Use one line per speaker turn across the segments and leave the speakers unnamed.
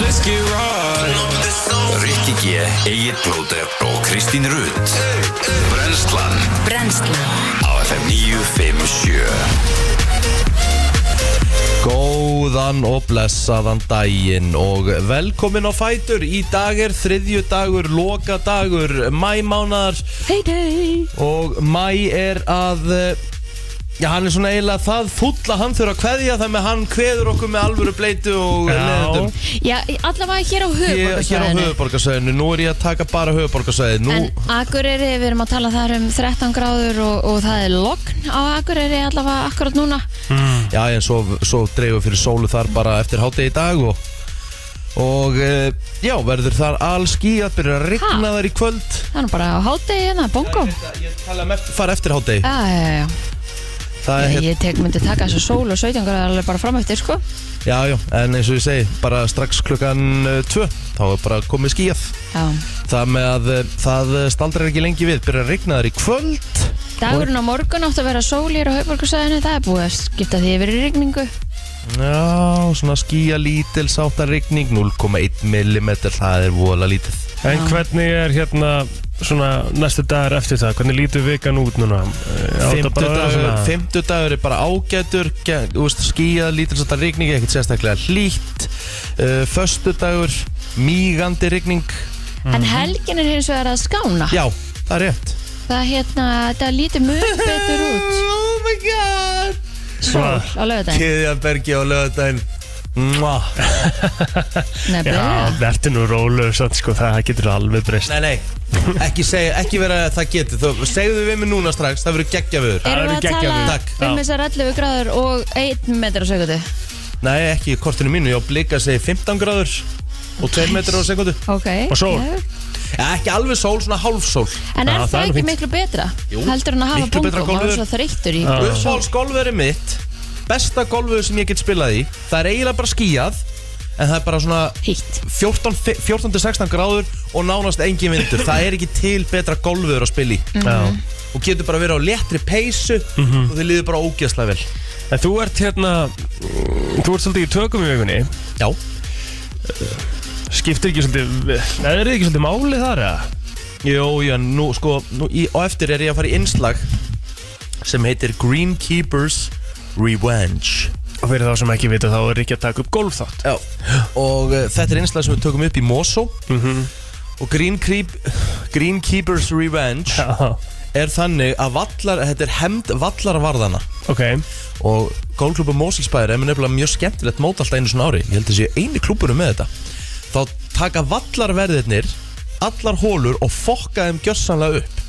Let's get right
Rikki G, Egil Blóter og Kristín Rutt Brenslan
Brennslan
á FM 957
Góðan og blessaðan daginn og velkomin á Fætur Í dag er þriðju dagur, loka dagur, mæmánar
Hey day
Og mæ er að, eh, já hann er svona eiginlega það full að hann þurfa að kveðja Það með hann kveður okkur með alvöru bleitu og leðendum
Já, allavega hér á
Ég hér á
höfuborgarsvæðinu
höfuborgarsæðinu, nú er ég að taka bara höfuborgarsæði Nú,
En Akureyri, við erum að tala þar um 13 gráður og, og það er logn á Akureyri allavega akkurat núna
já en svo, svo dreigur fyrir sólu þar bara eftir hátegi í dag og Og eh, já, verður þar allskýjað, byrjar að rigna þar í kvöld
Það er nú bara á hádegi hérna, bongo Já,
Ég tala um eftir, fara eftir hátegi
já, já,
Það er hérna-
já.
hér,
Ég tek myndi taka þessu sól og 17 gráður alveg bara fram eftir, sko
já, já, en eins og ég segi, bara strax klukkan uh, tvö, þá er bara komið skíjað.
Já,
Það með að uh, það uh, staldrar ekki lengi við, byrjar að rigna þar í kvöld.
dagurinn á morgun átti að vera sól hér á höfuborgarsvæðinu Það er búið að skipta því yfir í rigningu
Já, svona skíja lítil, sáttar rigning, 0,1 mm, það er vola lítið.
En hvernig er hérna svona næstu dagar eftir það? Hvernig lítur vikan út núna? Eh,
Fymtudagur fimmtudagur er bara ágætur ge- þú veist, skíjað, lítil sáttar rigning ekkert sérstaklega hlýtt uh, föstudagur, mígandi rigning
En helgin er hins vegar að skána
Mhm. já, það er rétt
Það hérna, þetta lítur mjög betur út
oh my god
Sól á lögadaginn
Kiðjabergi á lögadaginn Mua.
Nefnilega
Já, verður nú rólegur satt sko, það getur alveg breyst.
Nei, nei, ekki, segja, ekki vera að það geti Þú, Segðu við mig núna strax, það verður geggja við þur
Það
Erum
verður
við að
geggjað
tala
veður.
um
Já.
þessar 11 gráður og 1 metra á sekundu
Nei, ekki í kortinu mínu, ég á blika segi 15 gráður og 2 metrar á sekundu
Ok
Og sól.
já.
ja, Ekki alveg sól, svona hálf sól
En er
Já,
það,
það er nú
ekki
fínt.
miklu betra?
Jú,
Heldur hann að hafa
miklu betra
bongum og
golfveður.
svo þreyttur í
Já.
Uppáhalds golfveri mitt Besta golfið sem ég get spilað í Það er eiginlega bara skíjað En það er bara svona
Hitt
14-16 gráður og nánast engin vindur Það er ekki til betra golfur að spila í
Já.
og getur bara verið á léttri peysu og þið liður bara ógeðslega vel
En þú ert hérna, mm, þú ert svolítið í tökum í vikunni.
Já
Skiptir ekki svolítið, er þið ekki svolítið máli þar eða?
Jó, já, nú sko nú, í, og eftir er ég að fara í innslag sem heitir Greenkeepers Revenge
Og fyrir þá sem ekki vita þá er ekki að taka upp golf þátt.
Já Og uh, þetta er innslag sem við tökum upp í Mosó og Green Creep, Greenkeepers Revenge
Já,
er þannig að vallar, þetta er hemd vallarvarðana
ok.
og golfklubur Moselsbæðir er með nefnilega mjög skemmtilegt mót alltaf einu svona ári ég held að sé eini klúburum með þetta þá taka vallarverðirnir allar hólur og fokka þeim gjössanlega upp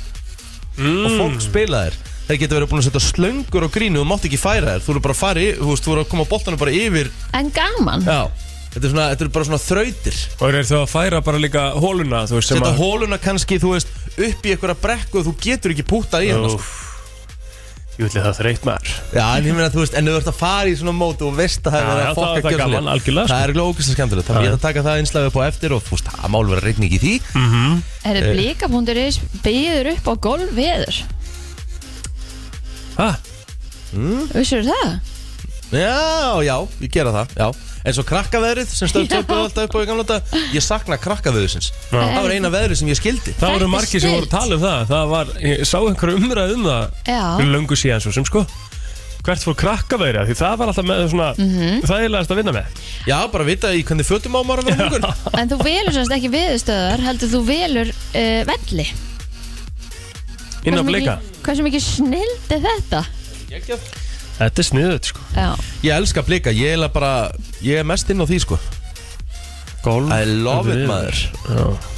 Mm.
og fólk spila þér þeir geta verið búin að setja slöngur og grínu og mátt ekki færa þér þú eru bara að fara í, þú veist, þú eru að koma boltanum bara yfir
En gaman
já Þetta er, svona, þetta er bara svona þrautir
Og eru þau að færa bara líka hóluna þú veist sem
Setta
að
hóluna kannski, þú veist, upp í einhverja brekku og þú getur ekki pútað í hana sko.
Úff. Ég vil það þreytt maður.
Já, en ég meina, þú veist, en þú ert að fara í svona mót og veist að það er
Já,
verið
já,
að
þá er
fokka
það
gjörsamlega.
gaman, algjörlega, sko.
Það er alveg ógæslega skemmtilegt, þannig að ég ætla að taka það einslæði upp á eftir og þú veist, það mál vera rigning í því
Mm.
Er þetta blíka.is Býður upp á golf veður
Hæ?
Vissur það?
Já, já, ég gera það, já En svo krakkaveðrið sem stöðum töpuð alltaf upp á í gamla þetta Ég sakna krakkaveðrisins Það var eina veðrið sem ég skildi
Það voru
Þetta er
margir sem voru
snillt.
að tala um það Það var, ég sá einhverju umræð um það
Já
fyrir löngu síðan svo sem sko Hvert fór krakkaveira, því það var alltaf með svona mm
Mhm.
þægilegast að vinna með
Já, bara vita í hvernig fötum á maður að vera mungur
En þú velur semst ekki veðurstöðar Heldur þú velur uh, velli
Inn á
Hversu
blika
mikið- Hversu mikið snild er þetta?
Þetta er sniðut sko.
Já
Ég elska blika, ég er bara, ég er mest inn á því sko
Golf.
I love it
veður.
maður
Já.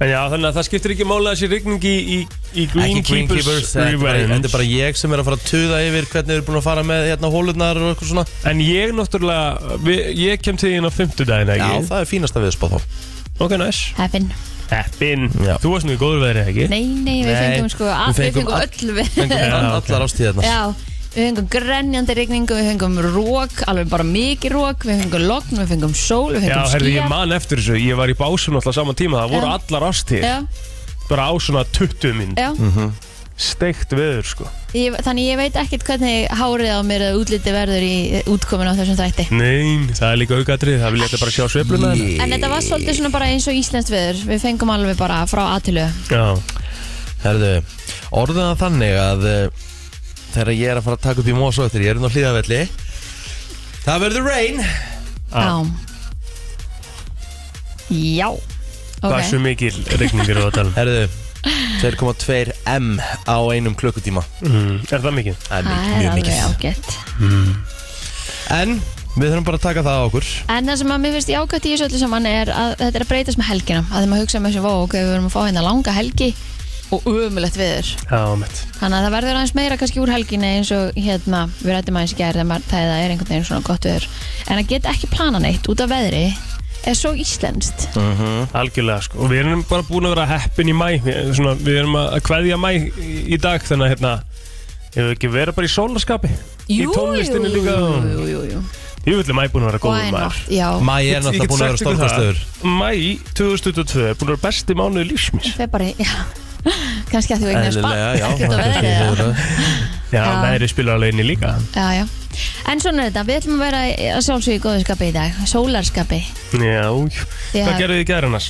En já, þannig að það skiptir ekki mála þessi rigning í, í, í
Ekki Greenkeepers,
Greenkeepers
þetta er bara- þetta er
Revenge
bara ég sem er að fara að tuða yfir hvernig við erum búin að fara með hérna hólurnar og eitthvað svona
En ég náttúrulega, vi- ég kem til þín á fimmtudaginn,
Já,
ekki?
það er fínasta viðspáð þá
Ok, næs
Heppin
Heppin,
Já.
þú varst nú í góður veðri, ekki?
Nei, nei, við
Nei,
fengum sko að,
við
Við
fengum
fengum
all-
öll við
fengum
Já, ok.
allar hérna. ástíðarnar
Já, við fengum grenjandi rigningu Við fengum rók, alveg bara mikið rók Við fengum lokn, við fengum sól Við
Já,
fengum
herði, ég
skýja
man eftir þessu, ég var í básum alltaf saman tíma, það voru
Já.
allar ástíð,
Já,
bara á svona 20 minn
já,
steikt veður sko
Ég, þannig ég veit ekkert hvernig hárið á mér eða útliti verður í eh, útkomin á þessum þætti.
Nein, það er líka aukatrið, það vil ég þetta bara sjá sveifluna yeah.
En þetta var svolítið svona bara eins og íslenskt veður. Við fengum alveg bara frá aðtilu.
Já,
Herðu, orðum það þannig að uh, þegar ég er að fara að taka upp í mós og eftir, ég er nú hlýðavelli Það verður rain
Ah.
Já. Já.
okay.
Ok.
hversu mikil regningir á talum
Herðu, 2,2 M á einum klukkutíma
mm. Er það mikil?
Það er
Það
mikið,
er
mjög
alveg
mikið
ágætt.
En við þurfum bara að taka það á okkur
En það sem að mér finnst jákvæmt í þessu öllu saman er að þetta er að breytast með helgina. Að þegar maður hugsa með þessu vó, ok, við verum að fá hérna langa helgi og ömulegt veður.
Já, mitt
Þannig að það verður aðeins meira kannski úr helginni eins og hérna, við rættum aðeins í gerð þegar það er einhvern veginn svona gott veður. En að geta ekki plana neitt út af veðri er svo íslenskt. Hm?
Algjörlega sko, og við erum bara búin að vera heppin í mæ Við- svona, Við erum að að kveðja mæ í í dag Þannig að hérna, ef við ekki vera bara í sólaskapi Í tónlistinni líka
jú, jú, jú.
Ég vil mæ búin að vera
Og
góður
en
maður
nátt, já.
Mæ er
Ég
náttúrulega
get
búin að vera
sagt ykkur
stórkastöður
það, Mæ 2022 er búin að vera besti mánuði lífsmís
Það er bara, já. Kannski að þú eignast
Eðlilega,
bann,
já,
ekkert á
maður
veðri
kannski
eða.
hefur það.
Já,
Já.
veðrið spilar alveg inn í líka
Já, já. En svona er þetta, við ætlum að vera að sjálfsögja í góðu skapi í dag, sólarskapi.
Já, jú.
Því
hvað
að-
gerðu þið gerð annars?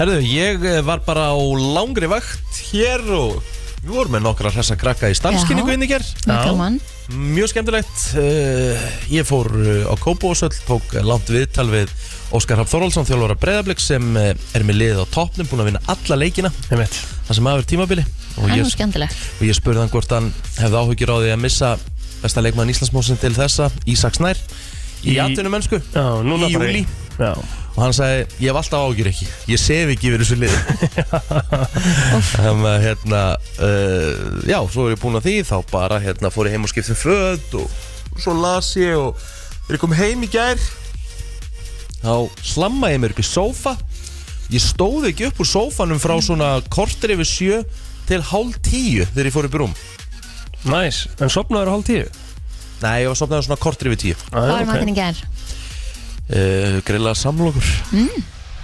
Herðu, ég eh, var bara á langri vakt hér og við vorum með nokkra hressa krakka í starfskynningu
Já.
inn í ger
Mjög
Já.
gaman.
Mjög skemmtilegt Eh, Ég fór eh, á Kópósöll Tók eh, langt viðtal við Óskar Hafn Þorvaldsson Þjálfara Breiðablík sem eh, er með liðið á toppnum Búin að vinna alla leikina
Einmitt.
Það sem aður tímabili og
Það er
ég,
nú skemmtilegt.
og ég spurði hann hvort hann hefði áhugjur á því að missa Besta leikmann Íslandsmósin til þessa Ísak Snær Í, í
Í-
atvinnum mennsku
Já, núna
Í
bara
júlí.
Já,
Og hann sagði, ég hef alltaf áhugjur ekki Ég sef ekki yfir þessu liði Þannig að hérna uh, Já, svo er ég búin að því Þá bara hérna fór ég heim og skiptum föt Og svo las ég og Þegar ég kom heim í gær Þá slamma ég mér upp í sófa Ég stóð ekki upp úr sófanum Frá svona kortir yfir sjö Til hálf tíu þegar ég fór upp í rúm
næs, en sopnaður hálf tíu
Nei, ég var sopnaður svona kortir yfir tíu
Hvað var matinn í gerð?
uh, Grillaða samlokur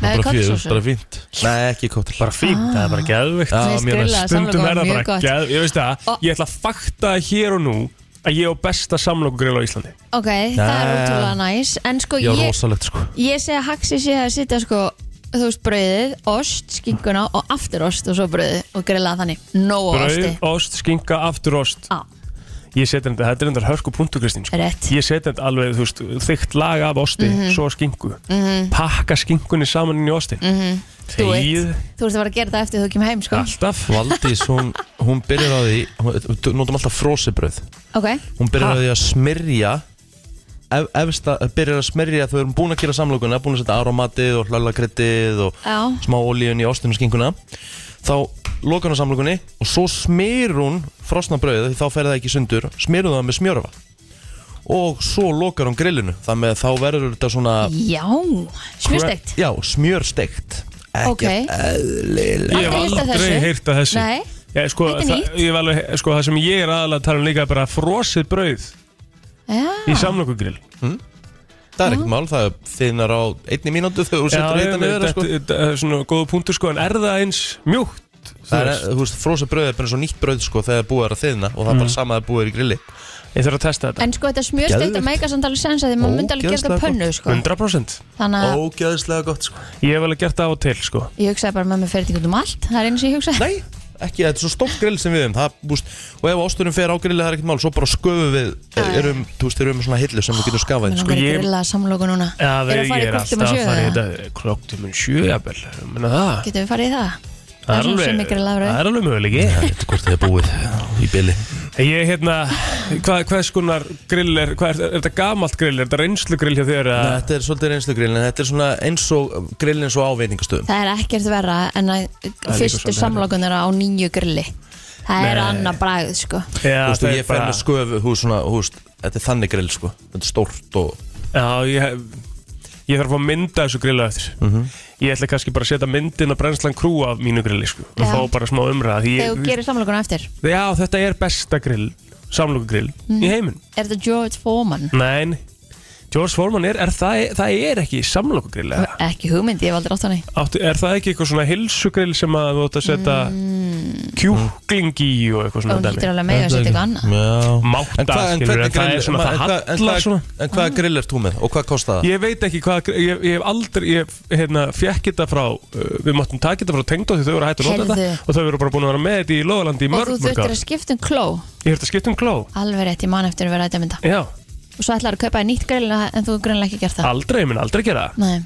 Með
Bara fjör,
kottsósu?
bara fínt Nei, ekki kóttil
Bara fínt, það er bara
Ah.
geðvikt
Já,
Mér finnst
Mér finnst
grillaða
Stundum
samlokan
er það
mjög
bara
gott.
geðvikt Ég veist það,
Og-
ég ætla að fakta hér og nú að ég á besta samlokugril á Íslandi
Ok, það er
Nei.
útrúlega næs En sko
Já,
ég,
rosalegt sko
ég segi að haxi sé að sitja sko Þú veist brauðið, ost, skinkuna og aftur ost og svo brauðið og grilla þannig Nóa
Brauð,
osti
ost, skinka, aftur ost
Á,
Ég seti þetta, þetta er endar hörku punktu Kristín sko.
rétt Mhm.
Ég seti þetta alveg, þú veist, þykkt lag af osti Svo skinku Pakka skinkunni saman inn í ostin mm -hmm.
Do it. Mhm. Þú veist að vera að gera það eftir þú kemur heim sko
alltaf
Valdís, hún, hún byrjar á því hún- Notum alltaf frósibröð
Ok,
Hún byrjar
Ha?
á því að smyrja ef, efsta, Byrjar að smyrja Þau erum búin að gera samlokuna Búin að setja aromatið og hlallakryttið Og
Já.
smá olíun í ástinu skinkuna Þá lokar hún samlokunni Og svo smyr hún frosna brauð Því þá fer það ekki í sundur Smyrur það með smjörfa Og svo lokar hún grillinu Þannig að þá verður þetta svona
já, smjörstegt
Já, smjörsteikt Ekkert
Ok.
eðlilega
Ég hef
Aldrei heyrt af
aldrei
þessu.
heyrt að þessu
Nei.
Já, sko,
Þetta er
það,
nýtt.
ég hef alveg, sko, það sem ég er aðalega að tala um líka er bara frosið brauð í
Já,
samlokugril
Það er ekkert mál, það er þinnar á einni mínútu þegar þú setur eitthvað niður sko.
þetta er svona góða punktur sko, en er það eins mjúkt? Þú
Það er,
veist,
þú veist, frósa bröð er bara svo nýtt bröð sko þegar búið er að þinna og það er bara sama að búið er í grilli
Ég þarf að testa þetta
en sko þetta smjörstegt
Geðveikt.
að meika samt alveg sens að því maður myndi alveg gera
Ógeðslega
það pönnu sko
100%
Þannig að
Ógæðislega Ah. gott sko
Ég hef alveg gert það á og til sko
ég hugsaði bara með mér fyrir þetta út um allt Það er eins og ég hugsaði
Nei, ekki, þetta er svo stórt grill sem við hefum það, búst, og ef ásturum fer á grilli það er ekkert mál, svo bara sköfum við erum, þú veist, erum við svona hillu sem við getum skafað í,
Mér
sko.
langar í
ég-
grilla samlóku núna
Já,
Eru
við-
að fara í
ég er
kortum og
alltaf að
sjö
fara í
eða?
þetta Klokktum en sjö, jafnvel Menna það
Getum við farið í það?
Það er
svona
alveg,
semi-grillaður.
það er alveg möguleiki
Það er hvort þið er búið í byli
Ég hérna, hvað, hvers konar grill er, hvað er, er þetta gamalt grill, er þetta reynslu grill hjá þér? eða-
Þetta er svolítið reynslu grillin, þetta er svona eins og grillin eins og áveitingastöðum
Það er ekkert verra en að
líka
fyrstu
svolítið
samlokunar á nýju grilli Það er
Nei.
annað bræð sko
Já,
Þú veist,
það
og
er
ég fer
bara-
með sköfu, þú veist, svona, þú veist, þetta er þannig grill, sko, þetta er stórt og
Já, ég, ég þarf að fá að mynda þessu grillu eftir Ég ætla kannski bara að setja myndin að brennslan krú af mínu grilli sko, og
Já.
fá bara smá umræða því
Þegar þú
ég,
gerir Mhm. samlokuna eftir
Já, þetta er besta grill, samlokugrill í heiminn
Er þetta George Foreman?
Nein, George Foreman er, er það, það er ekki samlokugrill eða?
Ekki hugmynd, ég hef aldrei átt hann í
Áttu, er það ekki eitthvað svona hilsugrill sem að þú átt að setja mm. kjúkling í og eitthvað
og
svona
hún getur alveg mega að setja eitthvað annað
Já En
Máta,
hvað- en
skilur, en
hvernig
það er
grill-
svona,
en
það
hvað- en
hallar
hvað-
svona
En hvaða grill er þú með og hvað kostar það?
Ég veit ekki hvað, ég, ég hef aldrei, ég hérna, fjekk þetta frá, uh, við máttum taka þetta frá tengdótti, þau voru hægt að nota
Heyrðu.
þetta og þau voru bara búin að vera með þetta í Lóðalandi í
og þú
mörg, mörg
þurftir
ár.
að skipta um kló
Ég hef þetta skipt um kló.
alveg rétt, ég man eftir að vera rætt að mynda
Já,
og svo ætlar að kaupa þér nýtt grill en þú grunlega ekki gert það
aldrei, ég mun aldrei gera það.
Nei,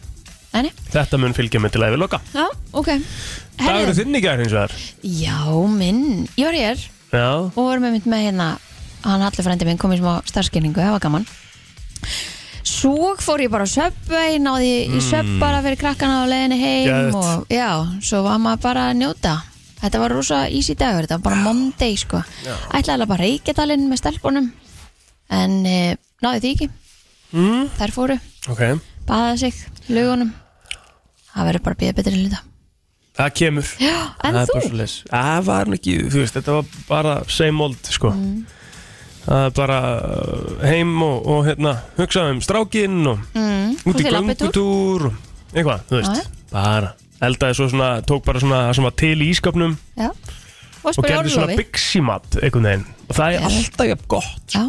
Nei, nei,
Þetta mun fylgja mig til að yfir loka.
já, ok
Það eru
Herðu,
þinn í gær hins vegar.
já, minn ég var hér
Já,
og vorum einmitt með hérna hann allir frændi minn kom í smá starfskilningu, það var gaman svo fór ég bara á söpvei náði í söpp bara fyrir krakkana á leiðinni heim
Mm. Geðveikt.
og já, svo var maður bara að njóta þetta var rosa easy dagur, þetta var bara monday sko, ætlaði alveg bara reykjadalinn með stelpunum en e, náði því ekki mm. þær fóru,
ok.
baðaði sig lögunum, það verður bara að býða betri hluta
Það kemur.
já, en
það er
þú,
bara svoleiðis. Það var nú ekki, þú veist, þetta var bara same old, sko.
Mm.
Það er bara uh, heim og, og hérna, hugsaðum um strákinn og
mm,
út í
fórstu labbitúr?
göngutúr og eitthvað, þú veist,
Já,
bara eldaði svo svona, tók bara svona það sem var til í ískapnum
já. og
og
spyrir
gerði svona
orlofi
byggsimat einhvern veginn og það er
Já.
alltaf jafn gott
já,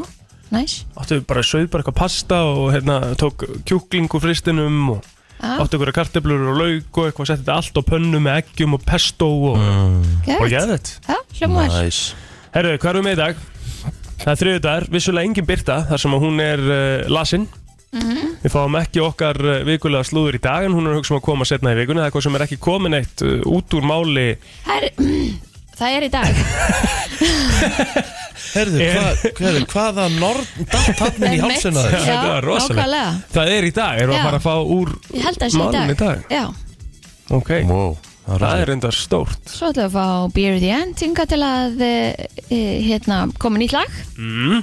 næs
áttu bara sögð bara eitthvað pasta og hérna tók kjúkling úr fristinum og
Já.
áttu einhverja karteblur og lauk og eitthvað setti þetta allt á pönnu með eggjum og pesto og,
Mm.
og
Gæt,
geðið
já, hljóma vel
Næs
Herru, hvað erum við í dag? Það er þriðudagur, vissulega engin Birta þar sem að hún er uh, lasin
Mhm.
Við fáum ekki okkar uh, vikulega slúður í dag en hún er að hugsa um að koma setna í vikunni það er hvað sem er ekki komin eitt uh, út úr máli
Það er, það er í dag
Herðu, hva, herðu hvaða norn datt hann inn í hálsina
Einmitt.
þér?
Já, þetta
Já,
var rosalegt.
nákvæmlega
Það er í dag, erum við
Já.
að fara að fá úr
Ég held að það sé
Málum
í
í dag.
dag Já,
Ok,
Wow,
það er reyndar stórt
svo ætlum við að fá Beer at the End hinga til að e, e, hérna, koma nýtt lag
mm.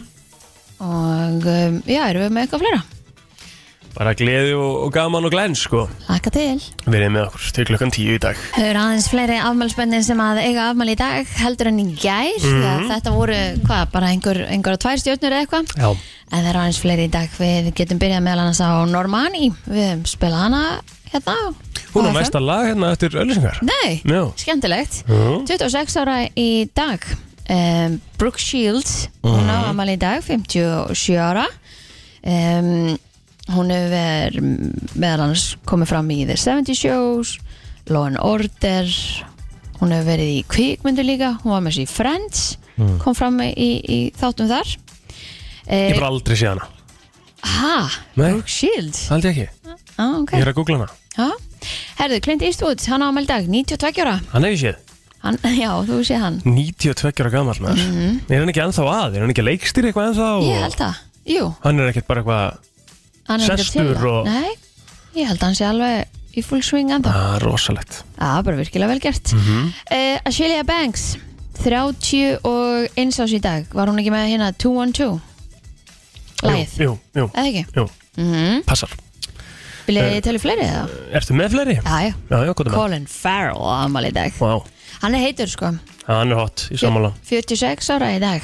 og um, já, erum við með eitthvað fleira
Bara gleði og, og gaman og glenn sko
Laka til
Við erum með okkur til klukkan tíu í dag
Þau eru aðeins fleiri afmælspennin sem að eiga afmæli í dag heldur en í gær mm þetta voru, hvað, bara einhver, einhver tvær stjórnur eða eitthvað
Já
en það eru aðeins fleiri í dag við getum byrjað meðal annars á Normani við höfum spilað hana hérna á
Hún
FM.
er næsta lag hérna eftir öllisingar
Nei,
Já.
skemmtilegt
Já.
26 ára í dag um, Brooke Shields hún á amal í dag, 57 ára um, hún hefur mm, meðal annars komið fram í The 70 Shows Law and Order hún hefur verið í kvikmyndu líka hún var með sér í Friends kom fram í, Mhm. í þáttum þar
Ég
Eh,
bara aldrei sé hana
Ha,
Nei.
Brooke Shields
Haldi ekki,
ah,
ég
okay.
er að googla hana
Já. Herðu, Clint Eastwood, hann á amal í dag 92 ára,
Hann hef ég séð
hann, já, þú sé hann
92 ára gammal maður Er hann ekki ennþá að? Er hann ekki að leikstýra eitthvað ennþá?
Mhm. Ég held það, jú
Hann er ekkert bara eitthvað
hann er ekkert
Sestur
til það.
og-
Nei, ég held að hann sé alveg í full swing ennþá
ah, rosalegt
Það er bara virkilega vel gert mm
Mhm.
Ashelia Banks 30 og eins ás í dag Var hún ekki með hérna 212 Læð,
Jú, jú,
eða ekki?
jú,
Mm
passar
Vilja
Eh,
ég tala fleiri eða?
Ertu með fleiri?
Já, já
Já, já, gott með
Colin Farrell á amal í dag
Vá,
Hann er heitur sko
hann er hot í sammála
46 ára í dag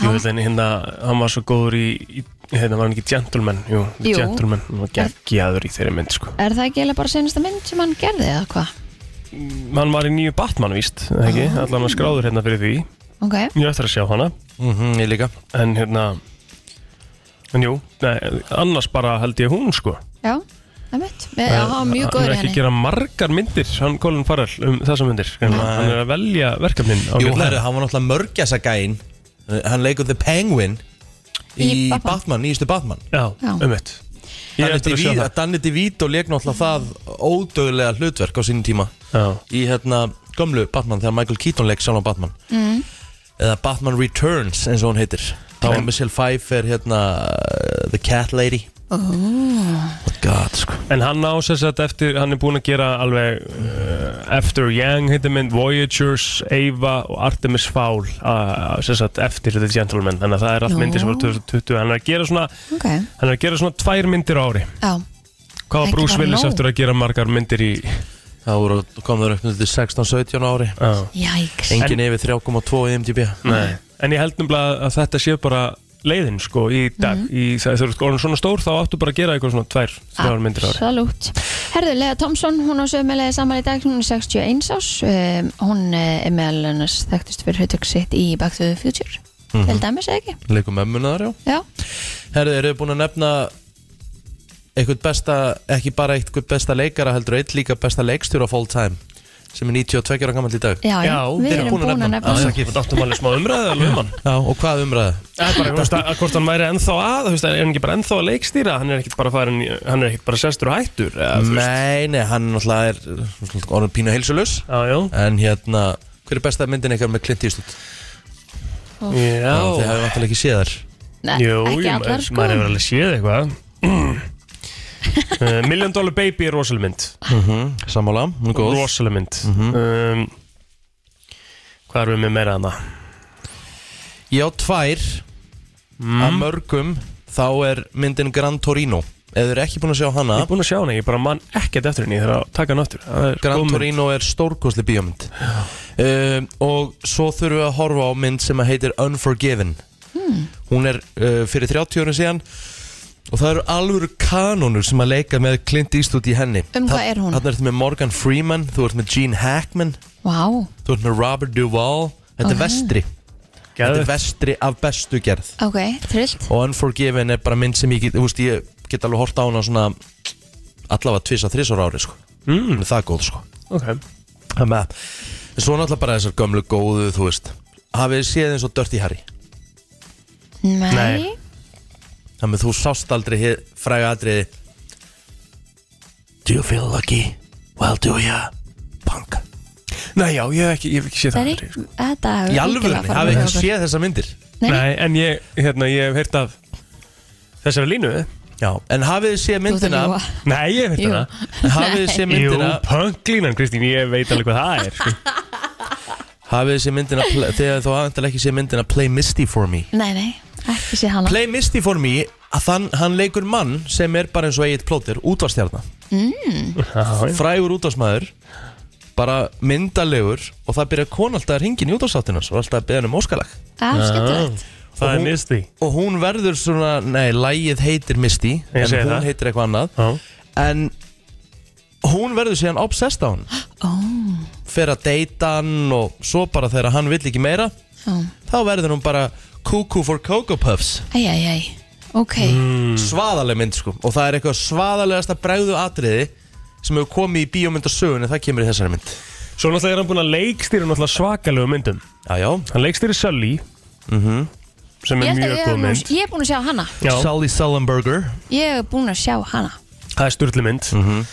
Jú, þannig hérna, hann var svo góður í, í hérna var hann ekki gentleman Jú, The
Jú.
gentleman, hann var geggjaður í þeirri mynd sko.
Ah, Er það ekki eiginlega bara senasta mynd sem hann gerði eða hvað?
Hann var í nýju Batman víst, eða ekki?
Ah.
Allan hann skráður hérna fyrir því
Ok,
Ég ætti að sjá hana
Mhm, Ég líka
En hérna, en jú, nei, annars bara held ég hún sko
já, það er mitt Já, hann var mjög góður í
Eh, Hann er ekki
henni
að gera margar myndir Hann Colin Farrell um þessa myndir Hann hann er að velja verkefnin
Jú,
ágætlega.
herru, hann var náttúrulega mörgjasa gæinn Hann leikur The Penguin Í
Í Batman.
Batman, nýjustu Batman
Já,
Já.
um eitt Ég
Danny
ætla að sjá
DeVito-
það
Danny DeVito leik náttúrulega það ódögulega hlutverk á sínum tíma
Já,
Í hérna gömlu Batman Þegar Michael Keaton leik sjálf á Batman Eða Batman Returns eins og hún heitir Þá var Michelle Pfeiffer hérna uh, The Cat Lady Oh my god, sko
En hann á sér sett eftir, hann er búinn að gera alveg uh, After Yang heitir mynd, Voyagers, Ava og Artemis Fowl uh, sér sett eftir The Gentleman, þannig að það er allt
Nú.
myndir sem var 2020, hann er að gera svona
Ok,
hann er að gera svona tvær myndir á ári
já, Ekki
Hvað var Bruce
bara
Willis
nóg.
eftir að gera margar myndir í
Það voru, kom þær upp til 16-17 ári
uh,
jæks
Engin yfir 3,2 í IMDb
Nei, en ég held nefnilega að þetta sé bara leiðin
Mhm.
sko í dag, mm -hmm. í, þegar þú eru orðin svona stór þá áttu bara að gera eitthvað svona tvær, þrjár myndir á ári
Absolutt Herðu, Lea Thompson, hún á sömulega saman í dag, hún er 61 ás um, hún eh, er meðal hennas þekktist fyrir hlutverk sitt í Back to the Future til dæmis eða ekki
Leikum ömmunar, já
Já,
Herðu, eru þið búin að nefna eitthvað besta, ekki bara eitthvað besta leikara heldur, eitt líka besta leikstjóra full time sem er 92 ára gammal í dag
Ah, já, já, við
þeir eru
erum
búin að
búin að
nefna.
nefna
Já, já.
hann.
Ég fótt áttum alveg smá umræðu alveg um hann
Já, og hvað umræða?
Það er bara hvort, að, hvort hann væri ennþá að, þú veist, er hann ekki bara ennþá að leikstýra Hann er ekkit bara, farin, í- hann er ekkit bara sestur og hættur eða, þú veist.
Nei, nei, hann náttúrulega er náttúrulega orðin pínu heilsulus
Já, já,
en hérna, hver er besta myndin ykkar með Clint Eastwood?
já
Þið hefur vantilega ekki séð þar
Nei,
Jú,
ekki
jú,
allar
maður-
sko
maður hefur alveg séð eitthvað uh, Million Dollar Baby er rosaleg mynd
Mhm, Sammála, hún er góð
Rosaleg mynd um, Hvað erum við með meira þarna?
Ég á tvær að mörgum þá er myndin Gran Torino Ef þið eru ekki búin að sjá hana
Ég er búin að sjá hana, ég bara mann ekkert eftir henni Ég þarf að taka hann aftur Það er
Gran
góð mynd.
Torino er stórkosli bíómynd um, og svo þurfum við að horfa á mynd sem að heitir Unforgiven
Hmm.
hún er uh, fyrir 30 árum síðan og það eru alvöru kanonur sem að leika með Clint Eastwood í henni
Um hvað er hún?
Þannig ertu með Morgan Freeman, þú ert með Gene Hackman
Vá,
þú ert með Robert Duvall þetta
Ok.
er vestri, þetta
Geðveikt.
er vestri af bestu gerð
ok, trillt
og Unforgiven er bara mynd sem ég get, þú veist, ég get alveg horta á hana svona allavega tvisa, þrísar ári sko. mm. það er góð sko.
Ok.
Það með það. En Svo náttúrulega bara þessar gömlu góðu, þú veist Hafið þið séð eins og Dirty Harry
Nei,
Nei.
Þannig að þú sást aldrei hið fræga atriði Do you feel lucky? Well do ya Punk
Nei, já, ég hef ekki, ég hef ekki séð
það
það
er
aldrei, sko.
ekki Þetta
Í alvöru, hafið þið séð þessar myndir
Nei,
Nei, en ég, hérna, ég hef heyrt af Þessari línu
Já, en hafið þið séð
þú ert að
myndina
ljúga.
Nei, ég hef heyrt
Jú.
hana
Hafið þið séð
Jú,
myndina
punklínan, Kristín, ég veit alveg hvað það er sko.
Hafið þið séð myndina pl- Þegar þú aðendal ekki séð myndina Play Misty for me
Nei, nei, ekki sé hana
Play Misty for me að þann, hann leikur mann sem er bara eins og Egil Plóter, útvarstjarnar
Já, já.
frægur útvarsmaður bara myndalegur og það byrja kona alltaf að ringin í útvarsáttinans og alltaf að beða hann um óskalag
Ah, skemmtilegt
Og
Það er
hún-
misti
og hún verður svona, nei, lægið heitir Misty en
segi
hún
það.
heitir eitthvað annað
Já.
en hún verður síðan obsessed á hann
Ó,
fer að deyta hann og svo bara þegar hann vill ekki meira
ó
þá verður hún bara cuckoo for cocoa puffs
Æj, æj, æj, ok
svaðaleg mynd sko og það er eitthvað svaðalegasta bregðu atriði sem hefur komið í bíómyndasögunni það kemur í þessari mynd
Svo náttúrulega er hann búin að leikstýra náttúrulega svakalegu myndum
já, já.
Hann leikstýri Sully Sem
Ég
er
held að
mjög
ég
góð
er,
mynd
ég er búin að sjá hana
Já,
Mhm. Sully Sullenberger
Ég er búin að sjá hana
það er sturlu mynd
Mhm.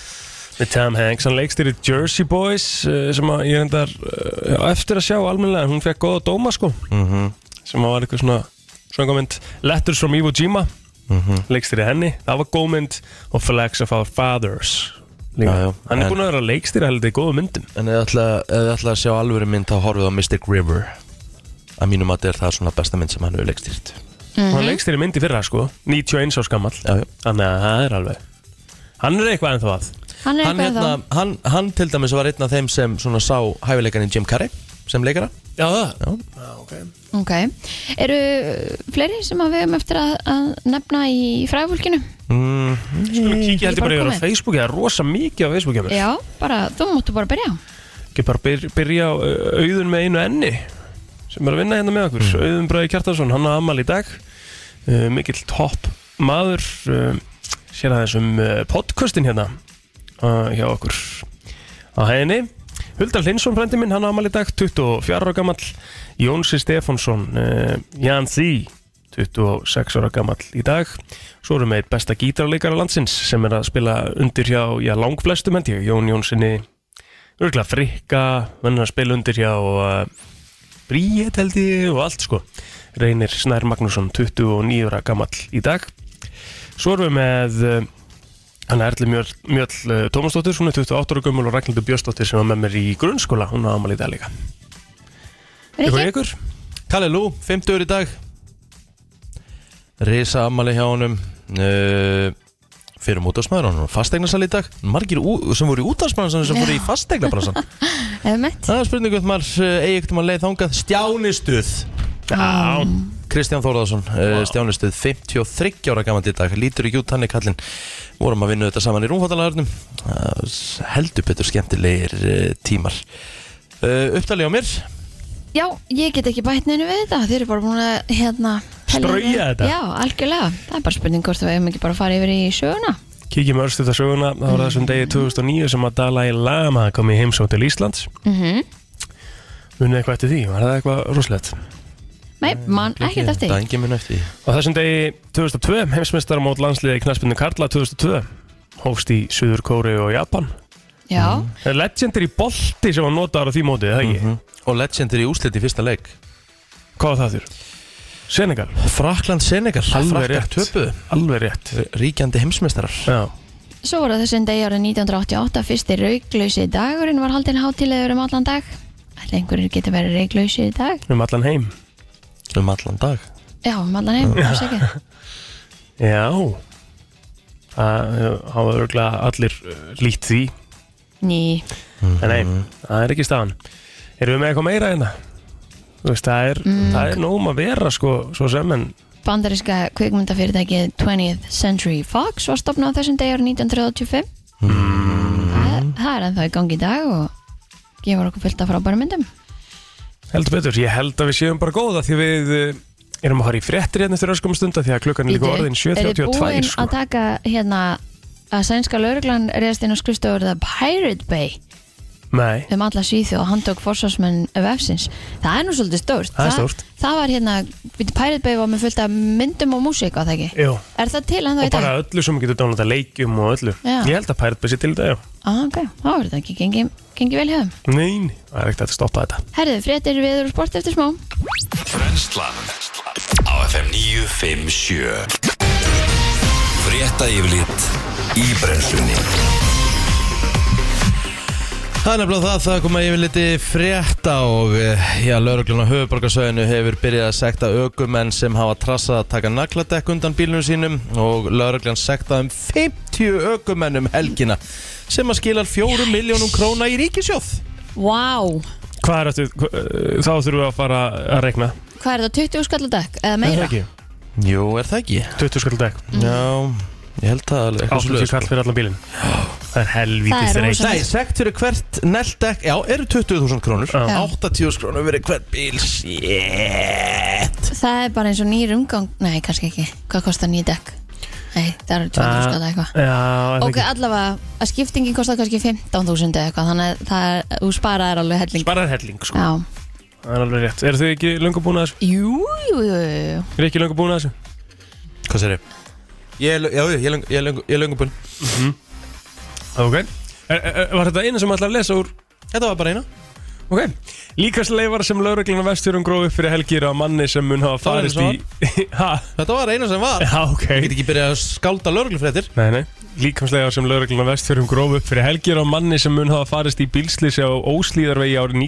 Með Tom Hanks, hann leikstýri Jersey Boys eh, sem að ég reyndar eh, á eftir að sjá almennilega, en hún fekk góða dóma sko
Mhm.
sem að var eitthvað svona svona góð mynd, Letters from Iwo Jima
Mhm.
leikstýri henni, það var góð mynd og Flags of Our Fathers líka,
Já, já,
hann er
en-
búin að vera að leikstýra heldur góða myndum
En ef þið ætla, ef þið ætla að sjá alvöru mynd þá horfið á Mystic River Að mínum að er það svona besta mynd sem hann hefur leikstýrt
hann leikstýri myndi fyrra sko, 91 ás gammal
Já, já.
þannig að það er alveg hann er eitthvað ennþá að
Hann er
hann,
eitthvað
hérna,
þá
hann, hann til dæmis var einn af þeim sem svona sá hæfileikan Jim Carrey sem leikara
já, það
Ok Eru fleiri sem að við hefum eftir að, að nefna í fræfólkinu?
Skulum kíkja heldur
Ég
bara
bara
yfir á
komið.
Facebooki, það er rosa mikið á Facebooki hjá mér.
Já, bara, þú máttu bara byrja
Ekki bara byr, byrja á uh, auðun með einu enni sem er að vinna hérna með okkur. Auðun Bræði Kjartansson, hann á amal í dag. Uh, mikill topp maður. Uh, sér aðeins um uh, podcastin hérna uh, hjá okkur á hæðinni. Huldar Linsson, frendi minn, hann á amal í dag, 24 ára gamall. Jónsi Stefánsson, uh, Jan Þý, 26 ára gamall í dag. Svo erum við eitt besta gítarleikara landsins sem er að spila undir hjá já, langflestum held ég, Jón Jónssoni örgulega frikka, mennur að spila undir hjá og uh, bríet held ég og allt sko Reynir Snær Magnússon, 29 ára gamall í dag Svo erum við með uh, hann er Erli Mjöll, Mjöll uh, Tómasdóttir hún er 28 ára gömul og Ragnhildur Björnsdóttir sem var með mér í grunnskóla, hún á amal í dag líka Ykkur
Rikki?
ykkur?
Kalle Lú, 50 í dag Risa ammali hjá honum uh, Fyrir mútasmaður, hann var fasteignarsal í dag Margir ú- sem voru í útvarsbransan sem voru í fasteignabransan
Emmett
eh, Það er spurningu um maður eigi ekkert um að leið þangað Stjánistuð
Já,
Kristján eh, Þórðarsson, wow. stjánustuð 53 ára gaman í dag, lítur ekki út hann er kallinn, vorum að vinna þetta saman í rúmfattalagarnum heldur betur skemmtilegir eh, tímar uh, uppdali á mér
Já, ég get ekki bætt neina við þetta Þeir eru bara búin að hérna telja
Strauja
niður.
þetta?
Já, algjörlega Það er bara spurning hvort við hefum ekki bara að fara yfir í söguna
Kíkjum örstu þetta söguna, það var þessum degi 2009 sem að Dalai Lama kom í heimsók til Íslands.
mm -hmm.
Munið eitthvað eftir því, var það eitthvað rosalegt?
Nei,
Mm,
mann, ekkert eftir því.
daginn minn eftir því.
Á þessum degi 2002, heimsmeistar mót landsliði í knaspinu Karla 2002, hófst í Suður Kóri og Japan.
Já,
Mm.
Legendir í bolti sem var notaður á því mótið, eða ekki?
Mhm. og legendir í úslit í fyrsta leik
Hvað var það þurr? Senegal,
Frakland Senegal,
Alveg
Frakkar
rétt.
töpuðu
alveg rétt.
ríkjandi heimsmeistarar
Já.
svo voru þessin degi árið 1988 Fyrsti rauglausi dagurinn var haldinn hátilegur um allan dag Ætli einhverjir geta verið rauglausi í dag
Um allan heim.
um allan dag
Já, um allan heim, afsakið
Já. Það hafa örgulega allir eh, lít því.
Ný,
En nei, það er ekki staðan. Erum við með eitthvað meira hérna? Þú veist, það er, það er nógum að vera sko, svo sem en
bandaríska kvikmyndafyrirtækið 20th Century Fox var stopnað á þessum degi árið 1935 það, það er ennþá í gangi í dag og gefur okkur fullt af frábærum myndum
heldur betur. Ég held að við séum bara góða því við eh, erum að fara í fréttir hérna eftir öskum stunda því að klukkan er líka orðin
er þið búin
7.32 sko.
að taka hérna að sænska lauruglan reyðast inn á skrifstofur The Pirate Bay
Nei,
um alla svíþjóð og handtók forsvarsmenn vefsins. Það er nú svolítið stórt.
Það er stórt.
Það, var hérna, við Pirate Bay var með fullt af myndum og músík á það ekki.
jú.
Er það til ennþá
Og
í dag?
bara öllu sem getur dánlata leikjum og öllu.
Já.
Ég held að Pirate Bay sé til í dag, já.
Ah, ok, þá er þetta ekki gengið gengi vel hjá þeim.
Nein, það er ekkert hægt að stoppa þetta.
Herðu, fréttir viður og sport eftir smá.
Brenslan á FM 957 Frétta yfirlit í brennslunni
Það er nefnilega það, það kom að ég vil liti frétta og eh, já, lauruglun á höfuborgarsöðinu hefur byrjað að sekta aukumenn sem hafa trassað að taka nagladekk undan bílunum sínum og lauruglun sektaði um 50 aukumennum helgina sem að skilar 4 miljónum króna í ríkisjóð.
Vá,
Hvað er eftir, hva- uh, þá þurfum við að fara að regna.
hvað er það, 20 skalladekk eða meira?
ekki.
Jú, er það ekki?
20 skall dag,
Mm. Já, ég held það alveg.
80 kall fyrir allan bílinn. Það er
Það
helvítið
er
þreik.
rosa-
Nei, sekt fyrir hvert neldekk, já, eru 20.000 krónur,
Já.
80.000 krónur verið hvert bíl, shit.
Það er bara eins og nýr umgang, nei, kannski ekki. Hvað kostar nýr dekk? Nei, það eru 20 skalladekk eitthvað.
Já, er það
Ok,
ekki.
allavega, að skiptingin kostar kannski 15.000 eða eitthvað, þannig að það er, þú sparaðir alveg helling.
Bara helling, sko.
Já.
Það er alveg rétt. Eru þið ekki löngu búin að þessu?
Jú, jú, jú, jú.
Eru ekki löngu búin að þessu?
Hvað sér ég? Ég er, já, ég er löngu- ég er löngu- ég er löngubunn.
Ok. Er, er, var þetta eina sem ætlaði að lesa úr?
Þetta var bara eina.
Ok. Líkasleifar sem lauruglina vestfjörðum gróð upp fyrir helgir á manni sem mun hafa
Það var eina
farist í... ha?
Þetta var eina sem var
Já, ok.
Ég get ekki byrjað að skálda lörglufréttir
Nei, nei, líkamslega sem lögregluna vestfjörðum gróf upp fyrir helgir á manni sem mun hafa farist í bílslýsi á Óslíðarvegi árið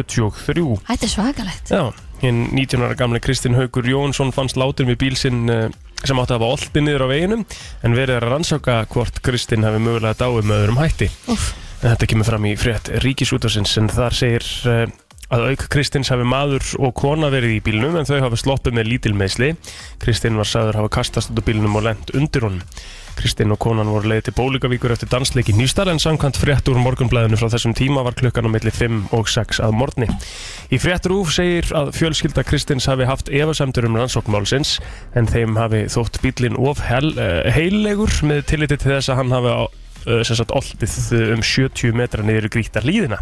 1973.
Þetta er svakalegt.
Já, hinn 19 ára gamle Kristinn Haugur Jónsson fannst látin við bíl sinn eh, sem átti að hafa oltið niður á veginum en verið er að rannsaka hvort Kristinn hafi mögulega dáið með öðrum hætti.
Úff.
En Þetta kemur fram í frétt Ríkisútarsins en þar segir eh, að auk Kristins hafi maður og kona verið í bílnum en þau hafi sloppið með lítil meðsli. Kristinn var sagður hafa kastast út á bílnum og lent undir honum. Kristinn og konan voru leið til Bólíkavíkur eftir dansleiki nýstar en samkvæmt frétt úr morgunblæðinu frá þessum tíma var klukkan á milli 5 og 6 að morgni. Í frétt rúf segir að fjölskylda Kristins hafi haft efasemdur um rannsóknmálsins en þeim hafi þótt bílinn of hel, uh, heillegur með tilliti til þess að hann hafi á- eh, sem sagt oltið eh, um 70 metra niður í gríta hlýðina.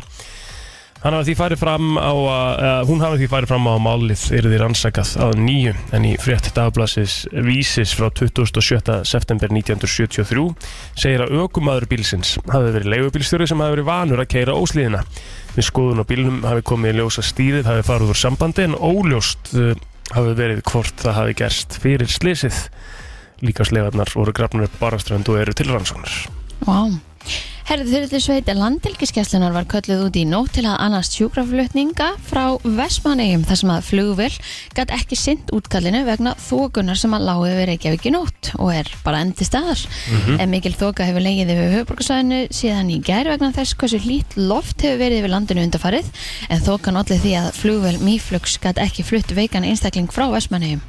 Hann hafa því farið fram á að, uh, hún hafa því farið fram á að málið yrði rannsakað að nýju en í frétt dagblasis vísis frá 27. september 1973 segir að ökumadur bílsins hafi verið leigubílstjóri sem hafi verið vanur að keira óslíðina. Við skoðun á bílnum hafi komið í ljós að stýrið hafi farið úr sambandi en óljóst uh, hafi verið hvort það hafi gerst fyrir slysið. Líka slegarnar voru grafnur upp baraströnd og eru til rannsóknar.
Vá. Herðu þurftisveitin landhelgiskeslunar var kölluð út í nótt til að annast sjúkraflutninga frá Vestmannegjum þar sem að flugvill gætt ekki sint útkallinu vegna þókunar sem að lágu yfir Reykjavík í nótt og er bara endi staðar. En mikil þóka hefur legið yfir höfuborgarsvæðinu síðan í gær vegna þess hversu lít loft hefur verið yfir landinu undarfarið en þókan allir því að flugvill Miflux gætt ekki flutt veikan einstakling frá Vestmannegjum.